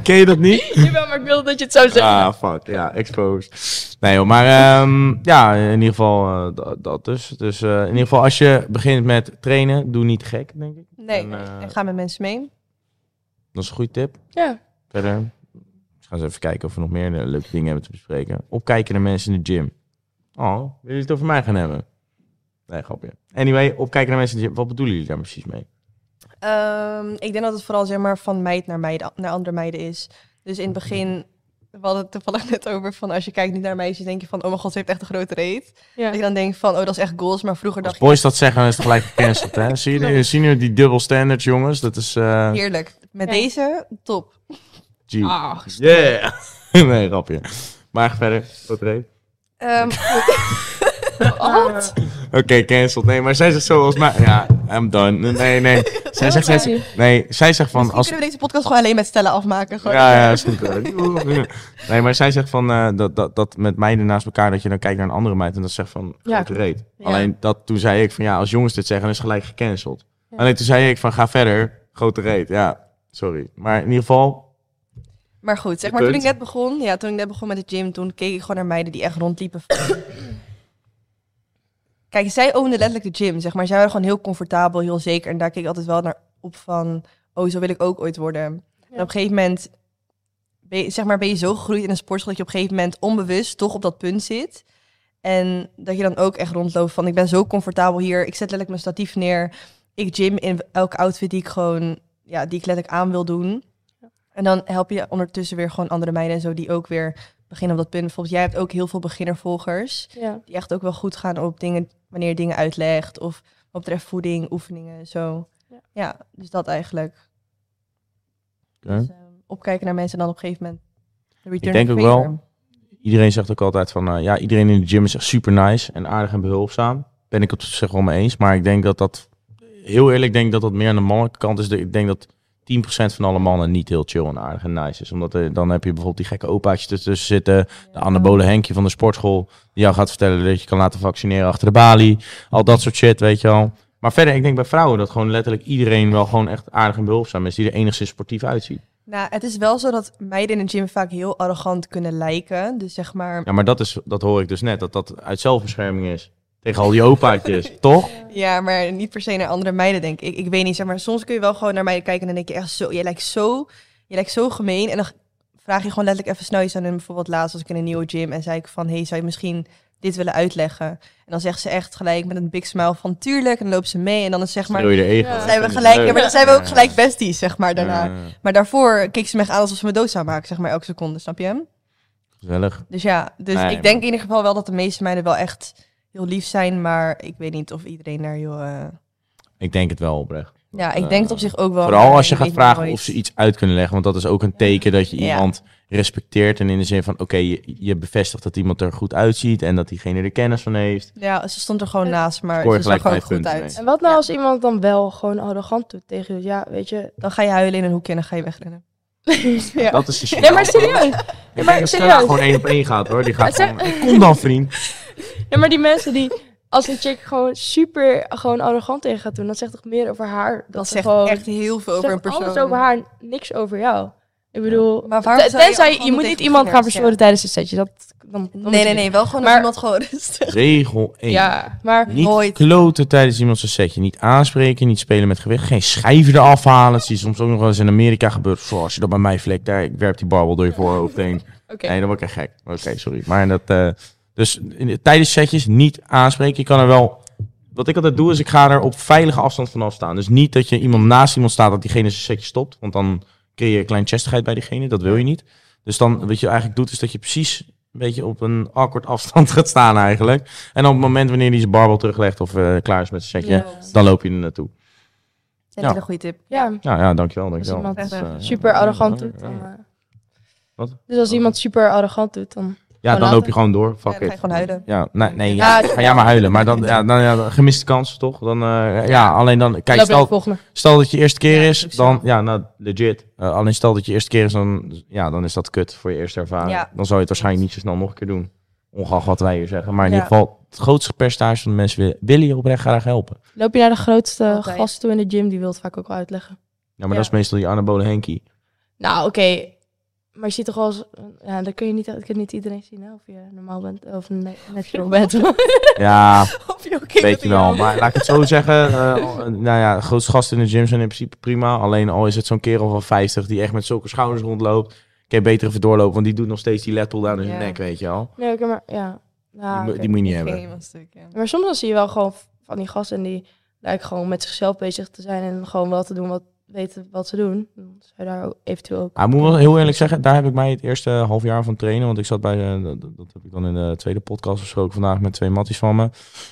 Speaker 3: Ken je dat niet?
Speaker 1: Jawel, maar ik wilde dat je het zou zeggen.
Speaker 3: Ah, fuck. Ja, exposed. Nee joh, maar ehm, ja, in ieder geval eh, da- dat dus. Dus eh, in ieder geval, als je begint met trainen, doe niet gek, denk ik.
Speaker 2: Nee,
Speaker 3: En, eh,
Speaker 2: en ga met mensen mee.
Speaker 3: Dat is een goede tip.
Speaker 1: Ja.
Speaker 3: Verder, we gaan eens even kijken of we nog meer eh, leuke dingen hebben te bespreken. Opkijken naar mensen in de gym. Oh, willen jullie het over mij gaan hebben? Nee, grapje. Anyway, opkijken naar mensen in de gym. Wat bedoelen jullie daar precies mee?
Speaker 2: Ehm, ik denk dat het vooral zeg maar van meid naar meid naar andere meiden is. Dus in het begin, we hadden het toevallig net over van als je kijkt niet naar meisjes, denk je van oh mijn god, ze heeft echt een grote reet.
Speaker 1: ja.
Speaker 2: Dat je dan denkt van oh dat is echt goals, maar vroeger
Speaker 3: Als
Speaker 2: dacht
Speaker 3: boys dat zeggen, dan is het gelijk gecanceld, hè? Zie je, die- zien jullie die dubbel standards, jongens? Dat is... eh,
Speaker 2: ik heerlijk. Met
Speaker 1: Ja.
Speaker 2: deze top.
Speaker 3: G.
Speaker 1: Ah,
Speaker 3: Yeah! nee, grapje. Maar verder, tot reed.
Speaker 2: Ehm,
Speaker 1: wat?
Speaker 3: Oké, cancelled. Nee, maar zij zegt zo als mij. Ja, I'm done. Nee, nee. Zij zegt, zij zegt- nee, zij zegt van.
Speaker 2: misschien
Speaker 3: Als,
Speaker 2: kunnen we deze podcast gewoon alleen met stellen afmaken. Gewoon.
Speaker 3: ja, ja, is goed. Nee, maar zij zegt van. eh, dat, dat, dat met meiden naast elkaar. dat je dan kijkt naar een andere meid. en dat zegt van.
Speaker 1: Ja,
Speaker 3: grote reet.
Speaker 1: Ja.
Speaker 3: Alleen dat, toen zei ik van. ja, als jongens dit zeggen, dan is gelijk gecanceld.
Speaker 1: Ja.
Speaker 3: Alleen toen zei ik van. ga verder. Grote reet. Ja, sorry. Maar in ieder geval.
Speaker 2: Maar goed, zeg
Speaker 3: Je
Speaker 2: maar toen ik
Speaker 3: punt.
Speaker 2: net begon, ja, toen ik net begon met de gym, toen keek ik gewoon naar meiden die echt rondliepen. van- Kijk, zij ownde letterlijk de gym, zeg maar. Zij waren gewoon heel comfortabel, heel zeker. En daar keek ik altijd wel naar op van, oh, zo wil ik ook ooit worden. En op een gegeven moment ben je, zeg maar, ben je zo gegroeid in een sportschool dat je op een gegeven moment onbewust toch op dat punt zit. En dat je dan ook echt rondloopt van ik ben zo comfortabel hier. Ik zet letterlijk mijn statief neer. Ik gym in elke outfit die ik gewoon, ja, die ik letterlijk aan wil doen. En dan help je ondertussen weer gewoon andere meiden en zo die ook weer beginnen op dat punt. Bijvoorbeeld jij hebt ook heel veel beginnervolgers
Speaker 1: Ja.
Speaker 2: die echt ook wel goed gaan op dingen wanneer je dingen uitlegt of wat betreft voeding, oefeningen, zo.
Speaker 1: Ja.
Speaker 2: Ja, dus dat eigenlijk.
Speaker 3: Oké.
Speaker 2: Dus, ehm, opkijken naar mensen en dan op een gegeven moment. de return
Speaker 3: denk
Speaker 2: of
Speaker 3: ook
Speaker 2: favor.
Speaker 3: wel. Iedereen zegt ook altijd van, eh, ja, iedereen in de gym is echt super nice en aardig en behulpzaam. Ben ik het op zich wel mee eens, maar ik denk dat dat, heel eerlijk, denk ik dat dat meer aan de mannelijke kant is. Ik denk dat 10% van alle mannen niet heel chill en aardig en nice is. Omdat eh, dan heb je bijvoorbeeld die gekke opaatjes ertussen zitten, de anabole Henkje van de sportschool, die jou gaat vertellen dat je kan laten vaccineren achter de balie, al dat soort shit, weet je wel. Maar verder, ik denk bij vrouwen dat gewoon letterlijk iedereen wel gewoon echt aardig en behulpzaam is, die er enigszins sportief uitziet.
Speaker 2: Nou, het is wel zo dat meiden in de gym vaak heel arrogant kunnen lijken. Dus zeg maar,
Speaker 3: Ja, maar dat, is, dat hoor ik dus net, dat dat uit zelfbescherming is. Tegen al die opaatjes, toch?
Speaker 2: Ja, maar niet per se naar andere meiden, denk ik. Ik weet niet, zeg maar, soms kun je wel gewoon naar meiden kijken en dan denk je echt zo, je lijkt zo, je lijkt zo gemeen. En dan vraag je gewoon letterlijk even snel iets aan hun. Bijvoorbeeld laatst was ik in een nieuwe gym en zei ik van, hey, zou je misschien dit willen uitleggen? En dan zegt ze echt gelijk met een big smile van, tuurlijk. En dan loopt ze mee en dan is zeg maar,
Speaker 3: Schreeuw je de ego.
Speaker 1: Ja.
Speaker 2: zijn we
Speaker 3: Vind ik
Speaker 2: gelijk,
Speaker 3: leuk.
Speaker 2: ja, maar dan zijn we ook gelijk besties, zeg maar, daarna.
Speaker 3: Ja,
Speaker 2: Maar daarvoor keek ze me echt aan alsof ze me dood zou maken, zeg maar, elke seconde, snap je hem?
Speaker 3: gezellig.
Speaker 2: Dus ja, dus
Speaker 3: Nee,
Speaker 2: ik denk in ieder geval wel dat de meeste meiden wel echt heel lief zijn, maar ik weet niet of iedereen daar heel... eh,
Speaker 3: Ik denk het wel oprecht.
Speaker 2: ja, ik denk het op zich ook wel.
Speaker 3: Eh, Vooral
Speaker 2: maar
Speaker 3: als je
Speaker 2: ik
Speaker 3: gaat
Speaker 2: weet
Speaker 3: vragen
Speaker 2: nooit.
Speaker 3: of ze iets uit kunnen leggen. Want dat is ook een teken dat je
Speaker 2: Ja.
Speaker 3: iemand respecteert. En in de zin van, oké, je, je bevestigt dat iemand er goed uitziet. En dat diegene er kennis van heeft.
Speaker 2: Ja, ze stond er gewoon
Speaker 1: Eh,
Speaker 2: naast, maar
Speaker 3: Scoor je
Speaker 2: ze zag
Speaker 3: gelijk
Speaker 2: gewoon
Speaker 3: vijf
Speaker 2: goed
Speaker 3: punten
Speaker 2: uit.
Speaker 3: mee.
Speaker 1: En wat nou
Speaker 2: Ja.
Speaker 1: als iemand dan wel gewoon arrogant doet tegen je? Ja, weet je.
Speaker 2: Dan ga je huilen in een hoekje en dan ga je wegrennen.
Speaker 1: ja.
Speaker 3: Dat is de
Speaker 1: Nee, maar serieus.
Speaker 3: Ik
Speaker 1: maar
Speaker 3: denk dat Stella
Speaker 1: serieus.
Speaker 3: gewoon één op één gaat hoor. Die gaat
Speaker 1: Ja,
Speaker 3: gewoon, kom dan vriend.
Speaker 1: Ja, maar die mensen die als een chick gewoon super gewoon arrogant tegen gaat doen, dat zegt toch meer over haar. Dat,
Speaker 2: Dat
Speaker 1: ze
Speaker 2: zegt
Speaker 1: gewoon,
Speaker 2: echt heel veel
Speaker 1: zegt
Speaker 2: over een persoon.
Speaker 1: Alles over haar, niks over jou. Ik bedoel,
Speaker 2: Maar waarom
Speaker 1: te-
Speaker 2: zou je
Speaker 1: tenzij je,
Speaker 2: arrogant
Speaker 1: moet
Speaker 2: tegen
Speaker 1: niet iemand gaan
Speaker 2: beginners, ja.
Speaker 1: verstoren tijdens een setje. Dat, dan, dan
Speaker 2: Nee, nee, nee. Wel gewoon maar...
Speaker 1: Maar-
Speaker 2: iemand gewoon rustig.
Speaker 3: Regel 1.
Speaker 1: Ja, maar
Speaker 3: Niet
Speaker 2: Nooit.
Speaker 3: kloten tijdens iemand zijn setje. Niet aanspreken, niet spelen met gewicht. Geen schijven eraf halen. Dat zie je soms ook nog wel eens in Amerika gebeurt. Zo, als je dat bij mij vlekt, daar, ik werp die barbel door je voorhoofd heen.
Speaker 1: oké.
Speaker 3: Nee, dan word ik echt gek. Oké, sorry. Maar dat, eh, dus in- tijdens setjes niet aanspreken. Je kan er wel... Wat ik altijd doe, is ik ga er op veilige afstand vanaf staan. Dus niet dat je iemand naast iemand staat, dat diegene zijn setje stopt. Want dan creëer je kleinchestigheid bij diegene. Dat wil je niet. Dus dan, wat je eigenlijk doet, is dat je precies een beetje op een awkward afstand gaat staan eigenlijk. En op het moment wanneer hij zijn barbel teruglegt of eh, klaar is met zijn setje, dan loop je er naartoe.
Speaker 2: Dat is
Speaker 3: Ja.
Speaker 2: een goede tip.
Speaker 1: Ja,
Speaker 3: Nou ja, dankjewel, dankjewel.
Speaker 1: iemand
Speaker 3: Dat is, eh,
Speaker 1: super arrogant doet. Dan, eh.
Speaker 3: Wat?
Speaker 1: Dus als iemand super arrogant doet, dan...
Speaker 3: Ja, dan
Speaker 1: Gewoon
Speaker 3: loop je gewoon door. Fuck
Speaker 2: Ja, dan ga je
Speaker 3: it.
Speaker 2: gewoon huilen.
Speaker 3: Ja, nee, nee
Speaker 2: Ja,
Speaker 3: ja,
Speaker 2: het is
Speaker 3: ga jij maar huilen. Maar dan, ja, dan ja, gemiste kans toch? Dan, eh, ja, alleen dan, kijk,
Speaker 1: loop je naar de
Speaker 3: stel,
Speaker 1: volgende.
Speaker 3: stel dat je eerste keer
Speaker 2: Ja,
Speaker 3: is,
Speaker 2: ook zo.
Speaker 3: dan, ja, nou, legit. Eh, alleen stel dat je eerste keer is, dan, ja, dan is dat kut voor je eerste ervaring.
Speaker 2: Ja.
Speaker 3: Dan zou je het waarschijnlijk niet zo snel nog een keer doen. Ongeacht wat wij hier zeggen. Maar in
Speaker 2: Ja.
Speaker 3: ieder geval, het grootste percentage van de mensen wil- willen je oprecht graag helpen.
Speaker 1: Loop je naar de grootste
Speaker 2: Altijd.
Speaker 1: gast toe in de gym, die wil het vaak ook wel uitleggen.
Speaker 3: Ja, maar
Speaker 2: Ja.
Speaker 3: dat is meestal die anabole Henkie.
Speaker 1: Nou, oké. Maar je ziet toch wel eens... Ja, dan kun je niet, dat kan niet iedereen zien, hè, Of je normaal bent of ne- natural bent.
Speaker 3: Ja,
Speaker 2: Of je ook
Speaker 3: weet je wel. Maar laat ik het zo zeggen. eh, nou ja, de grootste gasten in de gym zijn in principe prima. Alleen al is het zo'n kerel van 50 die echt met zulke schouders rondloopt. Kan je beter even doorlopen, want die doet nog steeds die let pull down in zijn
Speaker 2: Ja.
Speaker 3: nek, weet je wel.
Speaker 1: Nee, oké, maar... Ja. ja
Speaker 3: die, moet-
Speaker 1: Ah, oké.
Speaker 3: die moet je niet
Speaker 2: Ik ging
Speaker 3: hebben.
Speaker 2: iemand stuk, ja.
Speaker 1: Maar soms dan zie je wel gewoon van die gasten... en die lijken gewoon met zichzelf bezig te zijn... en gewoon wel te doen wat... weten wat ze doen. Dan zou je daar ook eventueel ook...
Speaker 3: Ah, ik moet wel heel eerlijk zeggen, daar heb ik mij het eerste half jaar van trainen. Want ik zat bij, eh, dat, dat heb ik dan in de tweede podcast besproken vandaag met twee matties van me.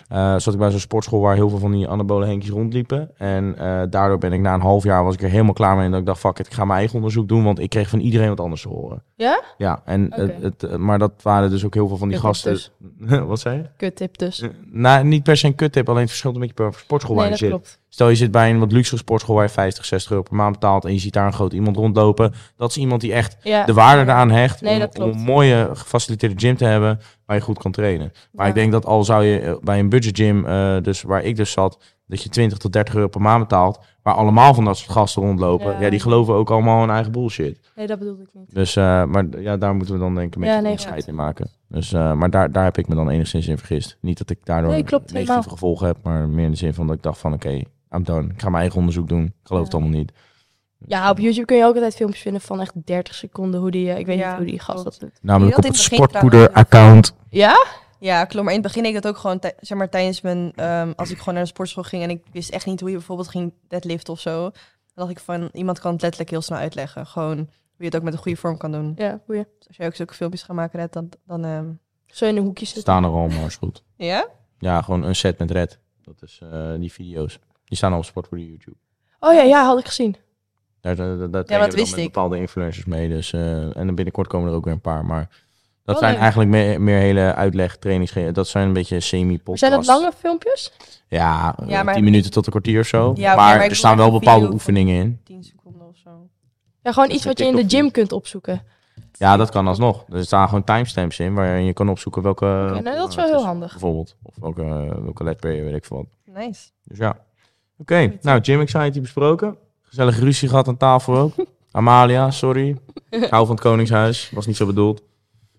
Speaker 3: Eh, zat ik bij zo'n sportschool waar heel veel van die anabole henkjes rondliepen. En eh, daardoor ben ik na een half jaar was ik er helemaal klaar mee. En dat ik dacht, fuck it, ik ga mijn eigen onderzoek doen. Want ik kreeg van iedereen wat anders te horen.
Speaker 1: Ja?
Speaker 3: Ja, en
Speaker 1: Oké.
Speaker 3: het, het, eh, maar dat waren dus ook heel veel van die
Speaker 1: Kut
Speaker 3: gasten.
Speaker 1: tips
Speaker 3: wat zei je?
Speaker 1: Kut tip dus.
Speaker 3: Eh, Nou, niet per se een kuttip, alleen het verschilt een beetje per sportschool waar
Speaker 1: Nee,
Speaker 3: je
Speaker 1: dat
Speaker 3: zit.
Speaker 1: klopt.
Speaker 3: Stel je zit bij een wat luxere sportschool waar je 50, 60 euro per maand betaalt en je ziet daar een groot iemand rondlopen. Dat is iemand die echt
Speaker 1: Ja.
Speaker 3: de waarde eraan hecht
Speaker 1: Nee,
Speaker 3: om,
Speaker 1: dat klopt.
Speaker 3: om een mooie gefaciliteerde gym te hebben waar je goed kan trainen. Maar
Speaker 1: Ja.
Speaker 3: ik denk dat al zou je eh, bij een budget gym, eh, dus waar ik dus zat, dat je 20 tot 30 euro per maand betaalt, waar allemaal van dat soort gasten rondlopen.
Speaker 1: Ja.
Speaker 3: Ja, die geloven ook allemaal hun eigen bullshit.
Speaker 1: Nee, dat bedoelde ik niet.
Speaker 3: Dus, eh, maar d- ja, daar moeten we dan denk ik een
Speaker 1: Ja,
Speaker 3: beetje een
Speaker 1: nee,
Speaker 3: onderscheid
Speaker 1: klopt.
Speaker 3: in maken. Dus, eh, maar daar, daar heb ik me dan enigszins in vergist. Niet dat ik daardoor
Speaker 1: Nee,
Speaker 3: een
Speaker 1: klopt,
Speaker 3: negatieve
Speaker 1: helemaal.
Speaker 3: gevolgen heb, maar meer in de zin van dat ik dacht van oké, I'm done. Ik ga mijn eigen onderzoek doen. Ik geloof het
Speaker 1: Ja.
Speaker 3: allemaal niet.
Speaker 1: Ja, op YouTube kun je ook altijd filmpjes vinden van echt 30 seconden hoe die, eh, ik weet
Speaker 2: Ja,
Speaker 1: niet hoe die gast dat
Speaker 2: klopt.
Speaker 1: doet.
Speaker 3: Namelijk
Speaker 2: had
Speaker 3: op
Speaker 2: in
Speaker 3: het
Speaker 2: het begin
Speaker 3: sportpoeder-account.
Speaker 1: Ja?
Speaker 2: Ja, klopt. Maar in het begin deed ik dat ook gewoon, tij- zeg maar, tijdens mijn, ehm, als ik gewoon naar de sportschool ging en ik wist echt niet hoe je bijvoorbeeld ging deadlift of zo. Dan dacht ik van, iemand kan het letterlijk heel snel uitleggen. Gewoon hoe je het ook met een goede vorm kan doen.
Speaker 1: Ja, boeien.
Speaker 2: Dus als je ook zulke filmpjes gaat maken, Red, dan... dan ehm,
Speaker 1: Zo in de hoekjes zitten.
Speaker 3: Staan er al, maar is goed.
Speaker 2: Ja?
Speaker 3: Ja, gewoon een set met Red. Dat is eh, die video's. Die staan al op sportpoeder YouTube.
Speaker 1: Oh ja, ja, had ik gezien.
Speaker 3: Daar, daar, daar trainen
Speaker 2: dat
Speaker 3: we dan
Speaker 2: wist
Speaker 3: met
Speaker 2: ik.
Speaker 3: bepaalde influencers mee. Dus, eh, en dan binnenkort komen er ook weer een paar. Maar dat
Speaker 1: Wel
Speaker 3: zijn
Speaker 1: leuk.
Speaker 3: eigenlijk meer, meer hele uitleg, trainings. Dat zijn een beetje semi-podcasts.
Speaker 1: Zijn dat lange filmpjes?
Speaker 3: Ja,
Speaker 2: Ja,
Speaker 3: eh,
Speaker 2: maar-
Speaker 3: 10 minuten tot een kwartier of zo.
Speaker 2: Ja, oké,
Speaker 3: maar
Speaker 2: maar ik
Speaker 3: er staan
Speaker 2: bedoel
Speaker 3: wel
Speaker 2: echt een
Speaker 3: bepaalde
Speaker 2: video van-
Speaker 3: oefeningen in.
Speaker 2: 10 seconden of zo.
Speaker 1: Ja, gewoon
Speaker 3: Dat is
Speaker 1: iets
Speaker 3: een
Speaker 1: wat je in de gym
Speaker 3: TikTok-filmpje.
Speaker 1: kunt opzoeken.
Speaker 3: Ja, dat kan alsnog. Er staan gewoon timestamps in waarin je kan opzoeken welke...
Speaker 1: Oké, nou, dat is wel
Speaker 3: het
Speaker 1: heel handig.
Speaker 3: Bijvoorbeeld. Of welke, welke letter, weet ik veel wat.
Speaker 2: Nice.
Speaker 3: Dus ja. Oké, nou Jim Anxiety besproken. Gezellige ruzie gehad aan tafel ook. Amalia, sorry. Ik hou van het Koningshuis. Was niet zo bedoeld.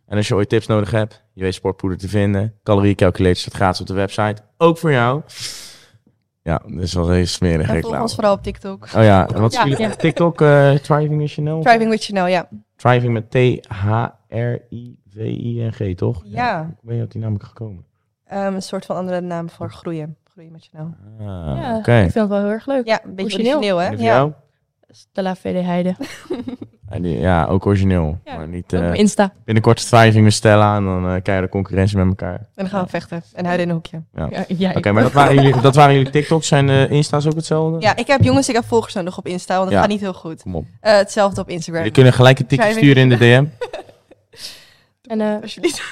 Speaker 3: En als je ooit tips nodig hebt, je weet sportpoeder te vinden. Caloriecalculator staat gratis op de website. Ook voor jou. Ja, dit is wel een smerige
Speaker 2: En volg
Speaker 3: reclame.
Speaker 2: ons vooral op TikTok.
Speaker 3: Oh ja, en wat is
Speaker 1: Ja,
Speaker 3: jullie
Speaker 1: ja.
Speaker 3: TikTok? eh Thriving with Chanel?
Speaker 2: Driving with Chanel, ja.
Speaker 3: Thriving met T-H-R-I-V-I-N-G, toch?
Speaker 2: Ja.
Speaker 3: Hoe ben je op die naam gekomen?
Speaker 2: Ehm, een soort van andere naam voor groeien. Groeien met Chanel.
Speaker 3: Ah,
Speaker 1: Ja,
Speaker 3: oké.
Speaker 1: Ik vind het wel heel erg leuk.
Speaker 2: Ja, een beetje
Speaker 1: Origineel.
Speaker 2: origineel, hè?
Speaker 3: En voor jou?
Speaker 1: Stella VD Heide.
Speaker 3: En die- Ja, ook origineel.
Speaker 1: Ja,
Speaker 3: Maar niet,
Speaker 1: Ook
Speaker 3: eh,
Speaker 1: op Insta.
Speaker 3: binnenkort thriving met Stella en dan eh krijg je de concurrentie met elkaar.
Speaker 2: En dan gaan we vechten. En huilen in een hoekje.
Speaker 1: Ja, jij.
Speaker 3: Oké, maar dat waren, jullie, dat waren jullie TikToks. Zijn de Insta's ook hetzelfde?
Speaker 2: Ja, ik heb jongens, ik heb volgers nodig op Insta, want het
Speaker 3: Ja.
Speaker 2: gaat niet heel goed.
Speaker 3: Kom op.
Speaker 2: Eh, hetzelfde op Instagram.
Speaker 3: Jullie kunnen gelijk een tikje
Speaker 2: Thriving.
Speaker 3: sturen in de DM.
Speaker 1: En eh,
Speaker 2: Alsjeblieft.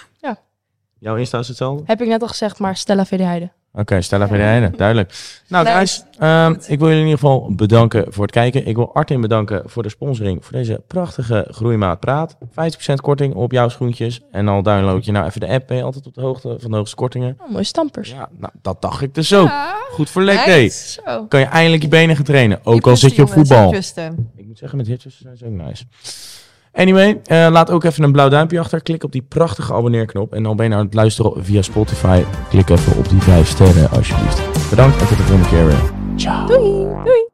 Speaker 3: Jouw Insta is hetzelfde?
Speaker 1: heb ik net al gezegd, maar Stella VD Heide.
Speaker 3: Oké, Stella van de Heijden, duidelijk. Nou,
Speaker 2: Nice.
Speaker 3: guys, ehm, ik wil jullie in ieder geval bedanken voor het kijken. Ik wil Artin bedanken voor de sponsoring voor deze prachtige Groeimaat Praat. 50% korting op jouw schoentjes. En al download je nou even de app, ben je altijd op de hoogte van de hoogste kortingen.
Speaker 1: Oh, mooie stampers.
Speaker 3: Ja, nou, dat dacht ik dus ook. Goed voor leg day.
Speaker 2: Nice.
Speaker 1: Zo.
Speaker 3: Kan je eindelijk je benen gaan trainen, ook
Speaker 2: Die
Speaker 3: al zit je op
Speaker 2: jongens, die
Speaker 3: voetbal.
Speaker 2: kusten.
Speaker 3: Ik moet zeggen, met hitjes zijn ze ook nice. Anyway, eh, laat ook even een blauw duimpje achter. Klik op die prachtige abonneerknop. En dan ben je aan het luisteren via Spotify. Klik even op die vijf sterren alsjeblieft. Bedankt en tot de volgende keer weer. Ciao.
Speaker 1: Doei. Doei.